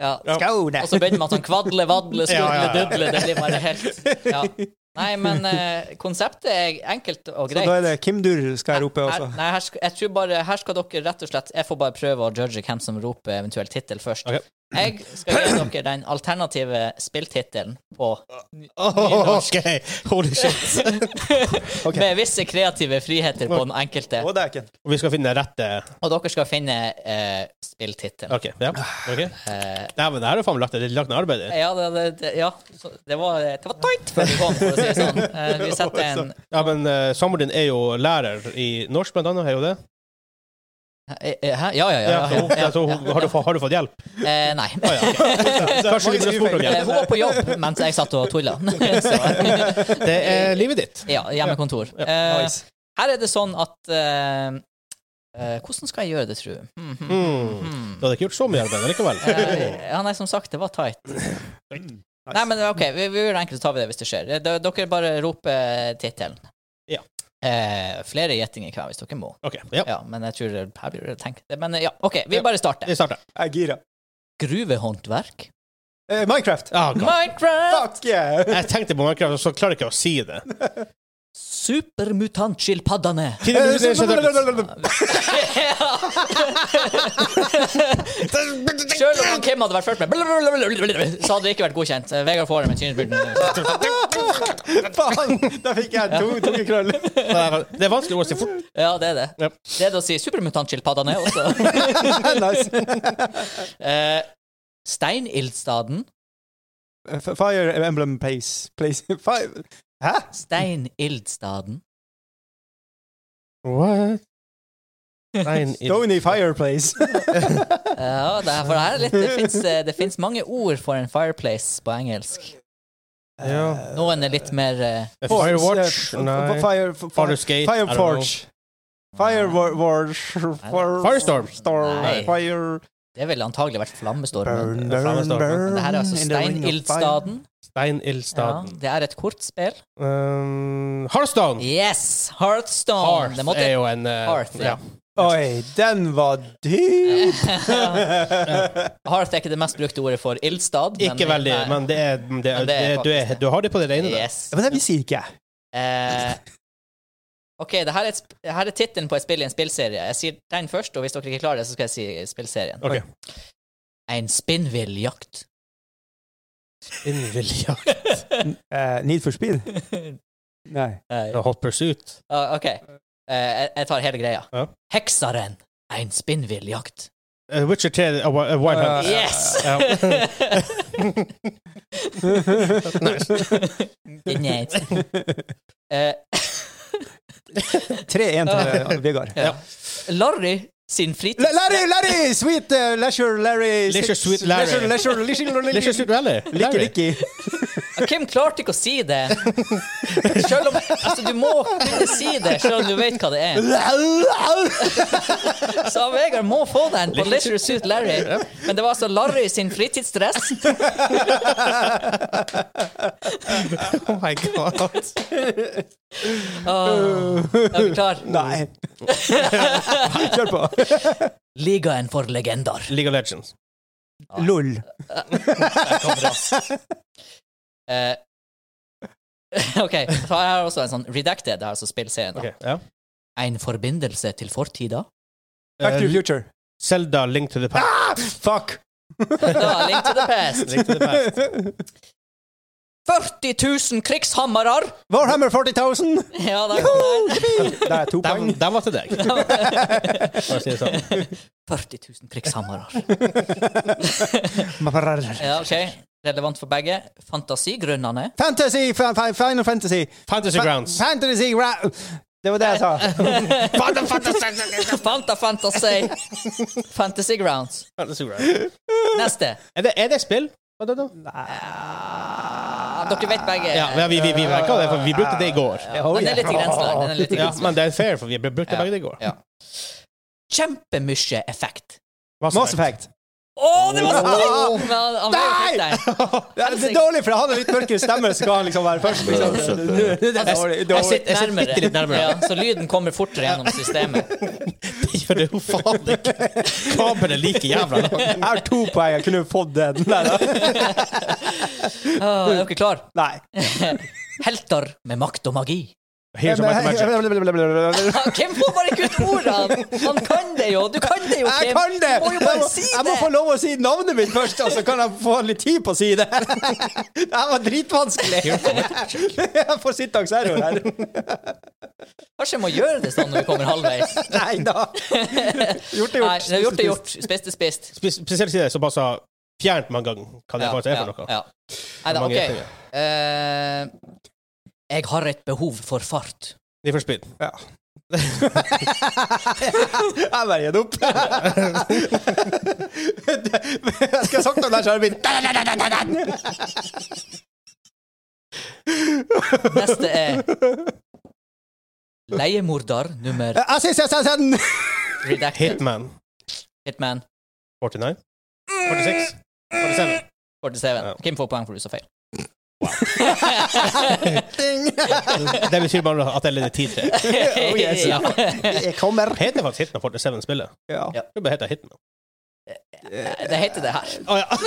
ja. Skåne. Og så begynner man sånn kvadle, vadle, Ja, skudle, ja, ja. dudle. Det blir bare helt ja. Nei, men eh, konseptet er enkelt og Så greit. da er det Kimdur skal jeg rope Her, altså. også. nei, her, sk- jeg tror bare, her skal dere rett og slett Jeg får bare prøve å judge hvem som roper eventuell tittel først. Ok. Jeg skal gi dere den alternative spilltittelen på Oh, OK! Holy shit. Ok. Med visse kreative friheter på den enkelte. Å, dæken. Og vi skal finne den rette Og dere skal finne eh, spilltittelen. OK. Ja. ok. Eh, Nei, men det her er faen meg lagt, det er lagt ned arbeid i. ja, det, det, det, ja. Så det var Det var tight før vi kom, for å si det sånn. Eh, vi setter en eh, Ja, men uh, samboeren din er jo lærer i norsk, blant annet. Er jo det? eh, Hæ? Ja, ja, ja. Ja, ja, så hun, ja, så hun, ja. Har, du, fått- har du fått hjelp? Eh, nei. Ah, ja. Kanskje du burde spurt om Eh, hjelp? Hun var på jobb mens jeg satt og tulla. Det er livet ditt. ja, hjemmekontor. Eh, Nice. her er det sånn at eh, eh, Hvordan skal jeg gjøre det, tru? Hmm, hmm, Mm. hmm. Du hadde ikke gjort så mye arbeid likevel. Eh, ja, nei, som sagt, det var tight. Nei, men OK, vi, vi gjør det enkelt, så tar vi det hvis det skjer. Eh, da- Dere bare roper eh, tittelen. Ja. Eh, flere gjettinger hver hvis dere må. Ok, ja. Ja, men jeg tror det- her blir det tenkt. Men eh, ja, OK, vi bare starter. Vi starter. Jeg er gira. Gruvehåndverk. Eh, Minecraft! Ah, God. Minecraft! Fuck yeah! jeg tenkte på Minecraft, og så klarer jeg ikke å si det. Supermutantskilpaddene. Sjøl om han Kim hadde vært først med så hadde det ikke vært godkjent. Eh, Vegard Fåre med Tynesbyrden. Faen! Der fikk jeg to tungekrøll. Det er vanskelig å si fort. Ja, det er det. Ja. Det er det å si supermutantskilpaddene også. nice. Eh, Steinildstaden. F- Fire Emblem Place. place. Fire. Hæ? Steinildstaden. What? Stein i Stony Fireplace. Ja, det er, for det her er litt Det fins, eh, det fins mange ord for en fireplace på engelsk. Ja. Noen er litt mer eh, Firewatch? Nei. Nei. Fire, Fathersgate? I don't know. Fireforge. Fireforge. Firestorm? Storm. Nei. Fire... Det ville antagelig vært flammestormen. Burn, det er burn, Firestorm. Men burn. det her er altså in the ring of Steinildstaden. Ja, Steinildstaden. det er et kortspill. Um, Hearthstone! Yes! Heartstone! Hearth det måtte er jo en eh, Hearth, ja. fire. Oi, den var dyp! Hearth er ikke det mest brukte ordet for ildstad. men- Ikke veldig, Nei. men det er, det, er- Men det er det, du, er, faktisk det. du har det på det rene, det. Yes. Ja, Men det visste ikke jeg. Eh, OK, det her er, et sp- det her er tittelen på et spill i en spillserie. Jeg sier den først, og hvis dere ikke klarer det, så skal jeg si spillserien. Ok. En spinnvill jakt. Innvilja. Eh, Need for speed? Nei. Eh, Hot Pursuit. ah, OK, Eh, jeg- jeg tar hele greia. Ja. Heksaren. En spinnvill jakt. Eh, Witcher 3 uh, Wild Hunt. Ja, ja, Yes! ja. Good night. Eh, 3-1 til Vegard. ja. Larry sin fritids... La- Larry, Larry! Sweet uh, leisure Larry Leisure Suite Larry. Leisure, leisure, leisure, leisure, Leisure Suit Rally. Licky, Larry. licky. Ah, Kim klarte ikke å si det. Selv om, altså, du må kunne si det, selv om du vet hva det er. Så Vegard må få den på Leisure Suit Larry. Men det var altså Larry sin fritidsdress. Oh my god. Åh, er du klar? Nei. Kjør på. Ligaen for legender. League of Legends. LOL. Eh, OK, så har jeg også en sånn redacted, det er altså spillserien. da. Ok, ja. En forbindelse til fortida. Back to the Eh, future. Ah, Zelda Link to the Past. Fuck! Da, link to the past. Link to the Past. 40 000 krigshammerer! Warhammer 40 000! Ja, da, Det er to poeng. Den, den var til deg. Bare si det sånn. 40 000 krigshammerer. Fantasy! Ja, ok. Relevant for begge. Fantasigrunnene. fa- fa- Final Fantasy! Fantasy Fa- Grounds. Fantasy ra... Det var det jeg sa. Fanta Fantasy. Fantasy Grounds. Fantasy Grounds. Neste. Er det, er det spill? Hva da, da? Ah, Dere vet begge. Ja, men vi, vi, vi merket det, for vi brukte det i går. Den er litt i grenseland. Den er litt i Ja, grenseland. men det er fair, for vi brukte begge det i går. Ja. Kjempemye effekt. Mass Effect. Å, det var så Åh! Men han- han ble jo Nei! fort der. Ja, det er dårlig, for han hadde litt mørkere stemme, så skal han liksom være først. Liksom. Det er dårlig, Jeg dårlig. sitter nærmere. bitte litt nærmere. Ja, så lyden kommer fortere gjennom systemet. For det er jo faen ikke Kabelen er like jævla lang. Jeg har to poeng, jeg kunne fått den. Nei, da. Ah, er dere klar? Nei. Helter med makt og magi. Here's your Might and Magic. Jeg Ah, Hvem får bare kutt ordene? Han kan det jo! Du kan det jo, Kim! kan det! Du må jo Jeg bare må, si jeg må det! få lov å si navnet mitt først, og så kan jeg få litt tid på å si det. Det her var dritvanskelig. Jeg får sittaks error her. Kanskje jeg må gjøre det sånn når vi kommer halvveis. Nei da. Gjort er Nei, gjort. det er gjort er gjort. Spist er spist. Spe- Spesielt siden jeg såpass har fjernt mange ganger hva det faktisk er for noe. ja. Nei da, Mange OK. gjetninger. Eh, jeg har et behov for fart. Need for speed. Ja. Jeg bare gir det opp. Jeg skal ha sagt om det, her, så hadde det blitt da, da, da, da, da, da. Neste er Leiemorder nummer Jeg synes jeg sa sånn. redacted. Hitman Hitman 49? 46? 47? 47. Ja. Kim får poeng for du sa feil. Ding. Det betyr bare at det er litt tid til. Oh, yes. ja. Jeg kommer. Heter det faktisk Hitman 47-spillet? Ja. Ja. Det bare heter Hitman. Det heter det her. Å ja.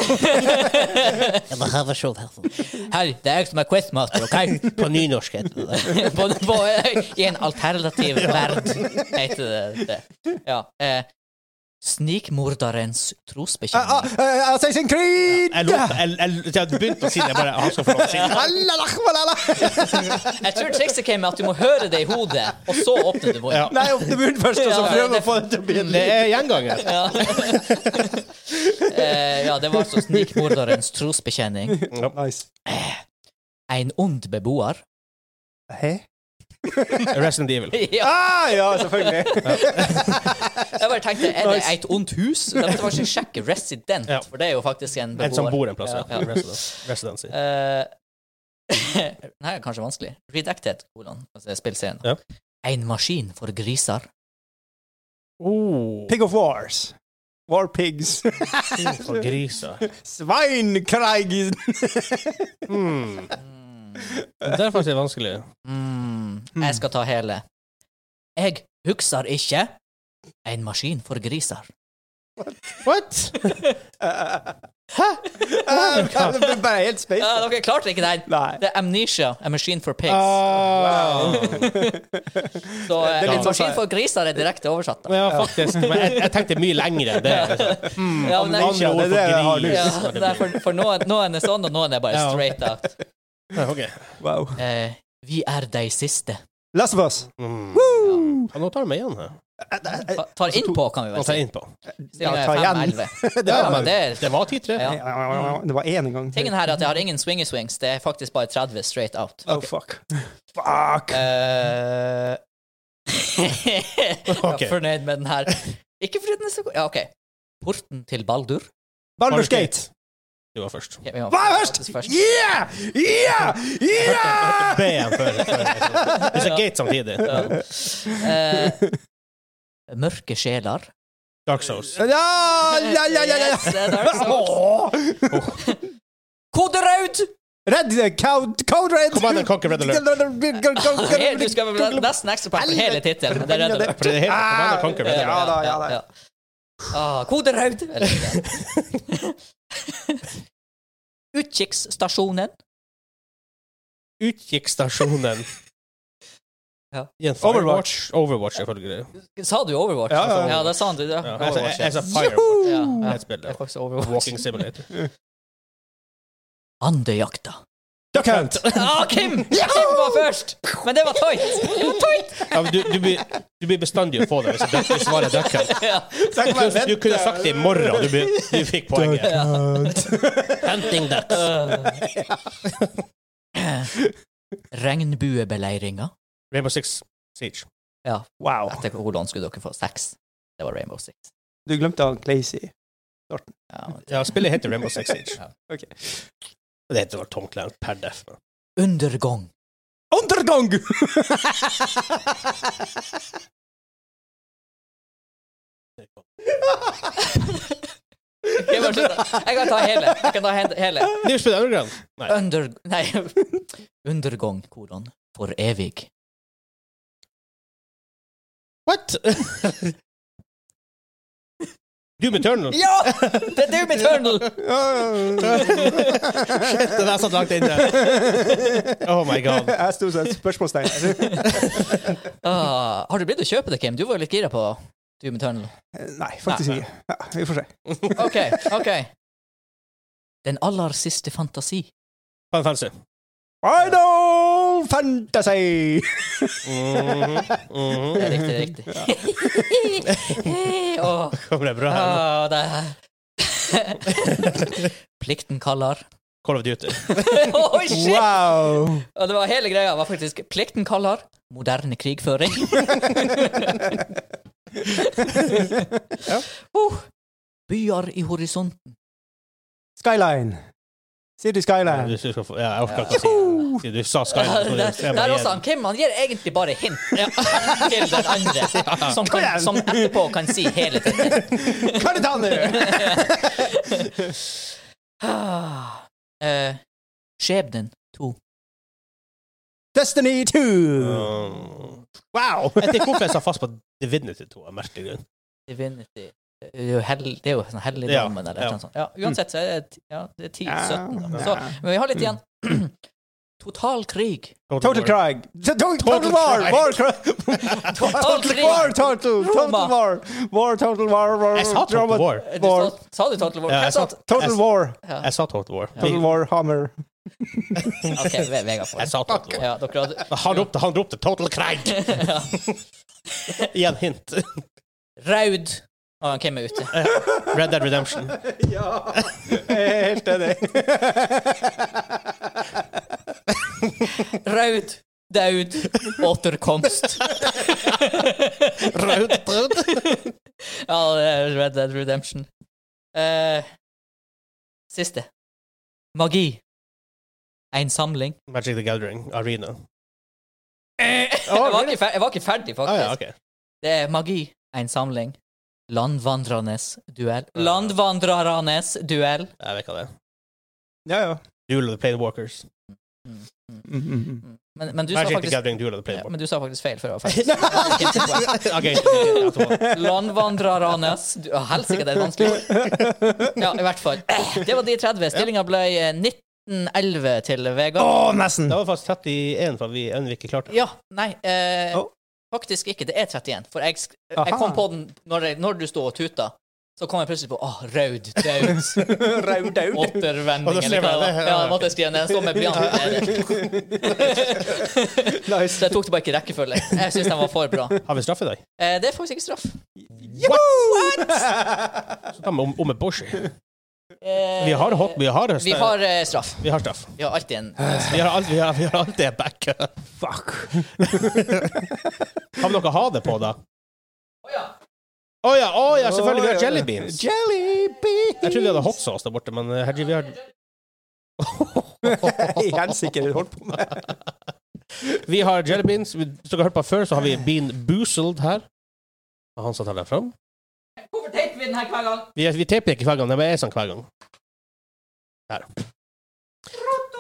Her, det er jeg som er questmaster, OK? På nynorsk heter det det. på, på, I en alternativ verd, heter det. det. Ja. Eh, Snikmorderens Ah, ah, trosbekjennelse. eh, Assassin's Creed! Jeg, lot, jeg, jeg, jeg begynte å si det, jeg bare Han skal få lov til å si det. Allah, Allah, Allah. ah. Jeg tror trikset came med at du må høre det i hodet, og så åpne det. Ja. Ja. Nei, opp til munnen først, og så Ja, prøve det- å få det til å bli en Det er gjenganger. Ja. eh, ja, det var altså snikmorderens trosbekjenning. Nice. En ond beboer. Hæ? Resident Evil. Ja, Ah, ja, selvfølgelig. jeg bare tenkte, er det Nice. et ondt hus? Da måtte jeg faktisk sjekke resident, Ja. for det er jo faktisk en beboer. En som bor en plass. Ja. Ja, ja. Residence- Residency. Eh, Den her er kanskje vanskelig. Redacted, kolon, altså spillscenen. Ja. En maskin for griser. Oh, Pig of Wars. War pigs. for griser. Sveinkreig. Hmm. Det er faktisk vanskelig. Mm, Hmm. jeg skal ta hele. Jeg husker ikke. En maskin for griser. What? Det ble bare helt space. Ja, dere klarte ikke den! Nei. Det er Amnesia, A Machine for Pigs. Ah, Ah. Så det er eh, litt en sånn maskin sånn- for griser er direkte oversatt. Da. Ja, faktisk. Men jeg, jeg tenkte mye lenger enn det. Hmm, Ja, men- andre ord Det er det jeg har for Ja, gris. det er for, for noen, noen er sånn, og noen er bare Ja. straight out. Ja, ok. Wow. Uh, Eh, vi er de siste. Last of Us. Hmm. Woo! Ja, nå tar du meg igjen her. uh, Eh, Ta, tar altså innpå, kan vi Nå vel tar si. jeg innpå. Ja, Stillingen er ta igjen. 5-11. Det Ja, var men bare- det er Det var 10-3. Eh, Ja. Det var én gang. Tingen her er at jeg har ingen swingy swings, det er faktisk bare 30 straight out. Oh, fuck. Fuck. Eh, jeg Ok. er fornøyd med den her. Ikke fordi den er så god. Ja, OK. Porten til Baldur. Baldur's Gate. Du var først. Ok, vi må- Hva er først? Yeah! Yeah! Yeah! B igjen før. før- Du sa gate samtidig. Eh, mørke sjeler. Dark Souls. Ja, ja, ja, ja, ja. Yes, det er Dark Souls. Åh! Kode rød! Red eh, Code, code Red Command and Conquer Red Alert. Helt- Du skal vel nesten ekstra poeng for hele tittelen. men det er Red Alert. For det heter Command and Conquer Red Ah! Ja, Alert. da, ja, da. Ah, kode rød! Eller- Utkikksstasjonen. Utkikksstasjonen. Ja. I en Overwatch. Firewatch. Overwatch, selvfølgelig. Sa du Overwatch? Ja, ja, ja. da sa han du det. Ja, jeg sa- Overwatch, jeg sa ja. Firewatch. Ja, ja. Et spill, Det er ja. faktisk Overwatch. Walking Simulator. Andejakta. Duck Hunt. Ah, Kim! Kim var først! Men det var tight! Det var tight! Ja, men du, du, blir, du blir bestandig å få det hvis du hvis du svarer Duck Hunt. Ja. Du kunne- Du kunne sagt det i morgen, og du, blir- du fikk poenget. Hunting ducks. Eh, Regnbuebeleiringa. Rainbow Six Siege. Ja, Wow. etter hvordan skulle dere få seks? Det var Rainbow Six. Du glemte han Clazy. Ja. Ja, spillet heter Rainbow Six Siege. Ja. Ok. Det heter vel Tom Clan per def. Undergang. Undergang! Jeg, bare slutter. jeg kan ta hele. Jeg kan ta he- hele. New Speed Underground. Nei. Under... Nei. Undergang, hvordan? For evig. What? Doom Eternal. Ja! Det er Doom Eternal! Shit, den der satt langt inne. Oh my god. Jeg sto som et spørsmålstegn. Ah, har du blitt å kjøpe det, Kim? Du var jo litt gira på Doom Eternal. Nei, faktisk Nei. ikke. Ja, vi får se. OK, OK. Den aller siste fantasi. Fan fancy. Final Fantasy! Mhm, mhm. Det er riktig, det er riktig. Åh, Kommer det bra her nå? åh, det er- Plikten kaller. Call of Duty. Oi, shit! Wow! Og det var hele greia var faktisk Plikten kaller, moderne krigføring. Ja. oh, byer i horisonten. Skyline. City Ja, Skyline. hvis du skal få- ja, jeg orker ikke å si det. Du sa Skyland. så Der, jeg må der gi også, den. han, Kim han gir egentlig bare hint til den andre, som, kan, som etterpå kan si hele tiden. Hva er det da nå? Ah, eh, Skjebnen 2. Destiny 2! Mm. Wow! Jeg vet ikke hvorfor jeg sa fast på Divinity 2. av en merkelig grunn. Divinity. Det er jo, hell, det er jo sånn helligdommen eller ja. noe sånt. Ja, uansett så er det, ti- ja, det er 10-17. da. Så, Ja. men vi har litt igjen. Total krig. Total Cry. Total, total War! Cry. War Cry. Total Total War, Total! Total Roma. War! War, Total War, War Jeg sa Total Drama- War. Du War. sa, sa du Total War? Ja, Hvem jeg sa sa- t- Total War. Jeg sa Total War. Total War Hammer. OK, Ve- Vegard får Jeg det. sa Total War. Ja, dere hadde Han ropte, han ropte Total Craig! ja. Igjen hint. Raud. Å, han Kim er ute. Red Dead Redemption. Ja! Jeg Eh, er helt enig. Raud. Daud. Återkomst. Rød, rød. Ja, det er Red Dead Redemption. Eh, siste. Magi. En samling. Magic the Gathering Arena. Jeg var ikke fer- jeg var ikke ferdig, Ah, ja, faktisk. ok. Det er magi. En samling. Landvandrernes duell. Landvandrernes duell. Jeg vet hva det er. Ja, ja. Duel of the Plane Walkers. Mm, mm, mm. Men, men, du sa Magic the faktisk, Gathering Duel of the Plane ja, Walkers. men du sa faktisk feil før. jeg var ferdig. Ok, ja, Landvandrernes du- Å, Helsike, det er vanskelig. Ja, i hvert fall. Det var de 30. Stillinga ble eh, 19-11 til Vegard. Åh, nesten! Det var faktisk 31 for at vi ennå ikke klarte det. Ja, nei eh, Å. Faktisk ikke. Det er 31. For jeg, sk- jeg Aha. kom på den når, jeg, når du sto og tuta. Så kom jeg plutselig på åh, raud, daud, Raudaud. återvending Og da eller skrev hva jeg det var. det. Ja, jeg måtte skrive ned. Jeg står med blyant. Nice. Så jeg tok det bare ikke i rekkefølge. Jeg syns den var for bra. Har vi straff i dag? Eh, det er faktisk ikke straff. Så tar vi om, om et Boshi. Eh, Vi har hot, vi har, vi har eh, straff. vi har straff. Vi har alltid en Vi har alltid, vi har, vi har alltid en backup. Fuck. Har vi noe å ha det på, da? Å ja. Å ja, å ja, selvfølgelig. Vi har jelly beans. Jelly beans. Jeg trodde vi hadde hot sauce der borte, men eh, herregud, vi har I helsike, det holdt på med. Vi har jelly beans. Vi- Hvis dere har hørt på før, så har vi Bean Boozled her. Og han som tar den fram. Hvorfor taper vi den her hver gang? Vi, vi taper ikke hver gang, det er sånn hver gang. Der.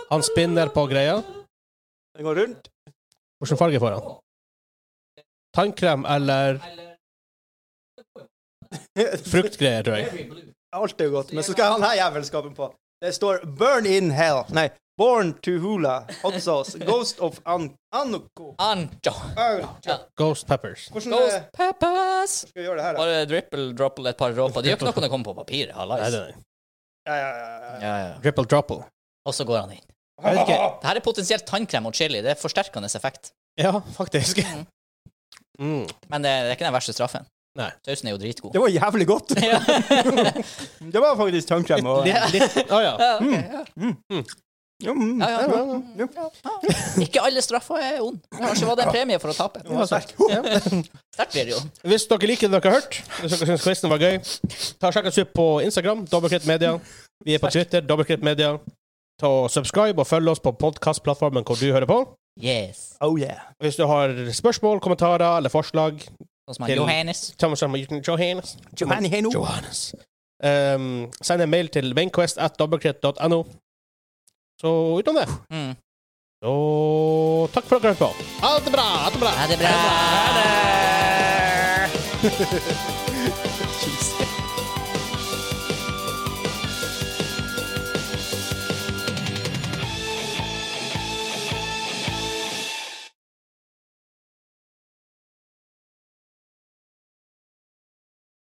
Han spinner på greia. Den går rundt. Hvilken farge får han? Tannkrem eller fruktgreier, tror jeg. Alt er jo godt, men så skal han her jævelskapen på. Det står 'Burn in Hell'. Nei, 'Born to Hula'. Hot sauce. 'Ghost of An Anoko'. Anjo. Hvordan Ghost peppers. eh, Ghost peppers. skal vi gjøre det her, da? Bare dripple, dropple et par dråper. Det gjør ikke noe når det kommer på papiret. Nei, det Hallais. er det. Ja, ja, ja, ja. Ja, ja. Dripple dropple. Og så går han inn. Jeg vet ikke. Det her er potensielt tannkrem og chili. Det er forsterkende effekt. Ja, faktisk. Mm. Men det er ikke den verste straffen. Nei. Sausen er jo dritgod. Det var jævlig godt. Ja. Det var faktisk tannkrem. Og, Litt, litt. Å ja. Ja, ok, ja. ja, mm, Ja, ja, det var- ja, ja. Ah. Ikke alle straffer er ond. Kanskje var det en premie for å tape. Den altså. var sterk. Sterkt blir det jo. Hvis dere liker det dere har hørt, hvis dere syns quizen var gøy, ta og sjekk oss ut på Instagram, Dobbeltkritt Media. Vi er på Twitter, Dobbeltkritt Media. Ta og subscribe og følg oss på podkastplattformen hvor du hører på. Yes. Oh yeah. Hvis du har spørsmål, kommentarer eller forslag Sånn som han Johannes. ta med sammen med Johannes. Giovanni Heno. Johannes. Um, send en mail til mainquest at dobbeltkritt.no. Så utenom det Mm. Så takk for at dere hørte på. Ha det bra! Ha det bra! Ha det bra. Ha det bra.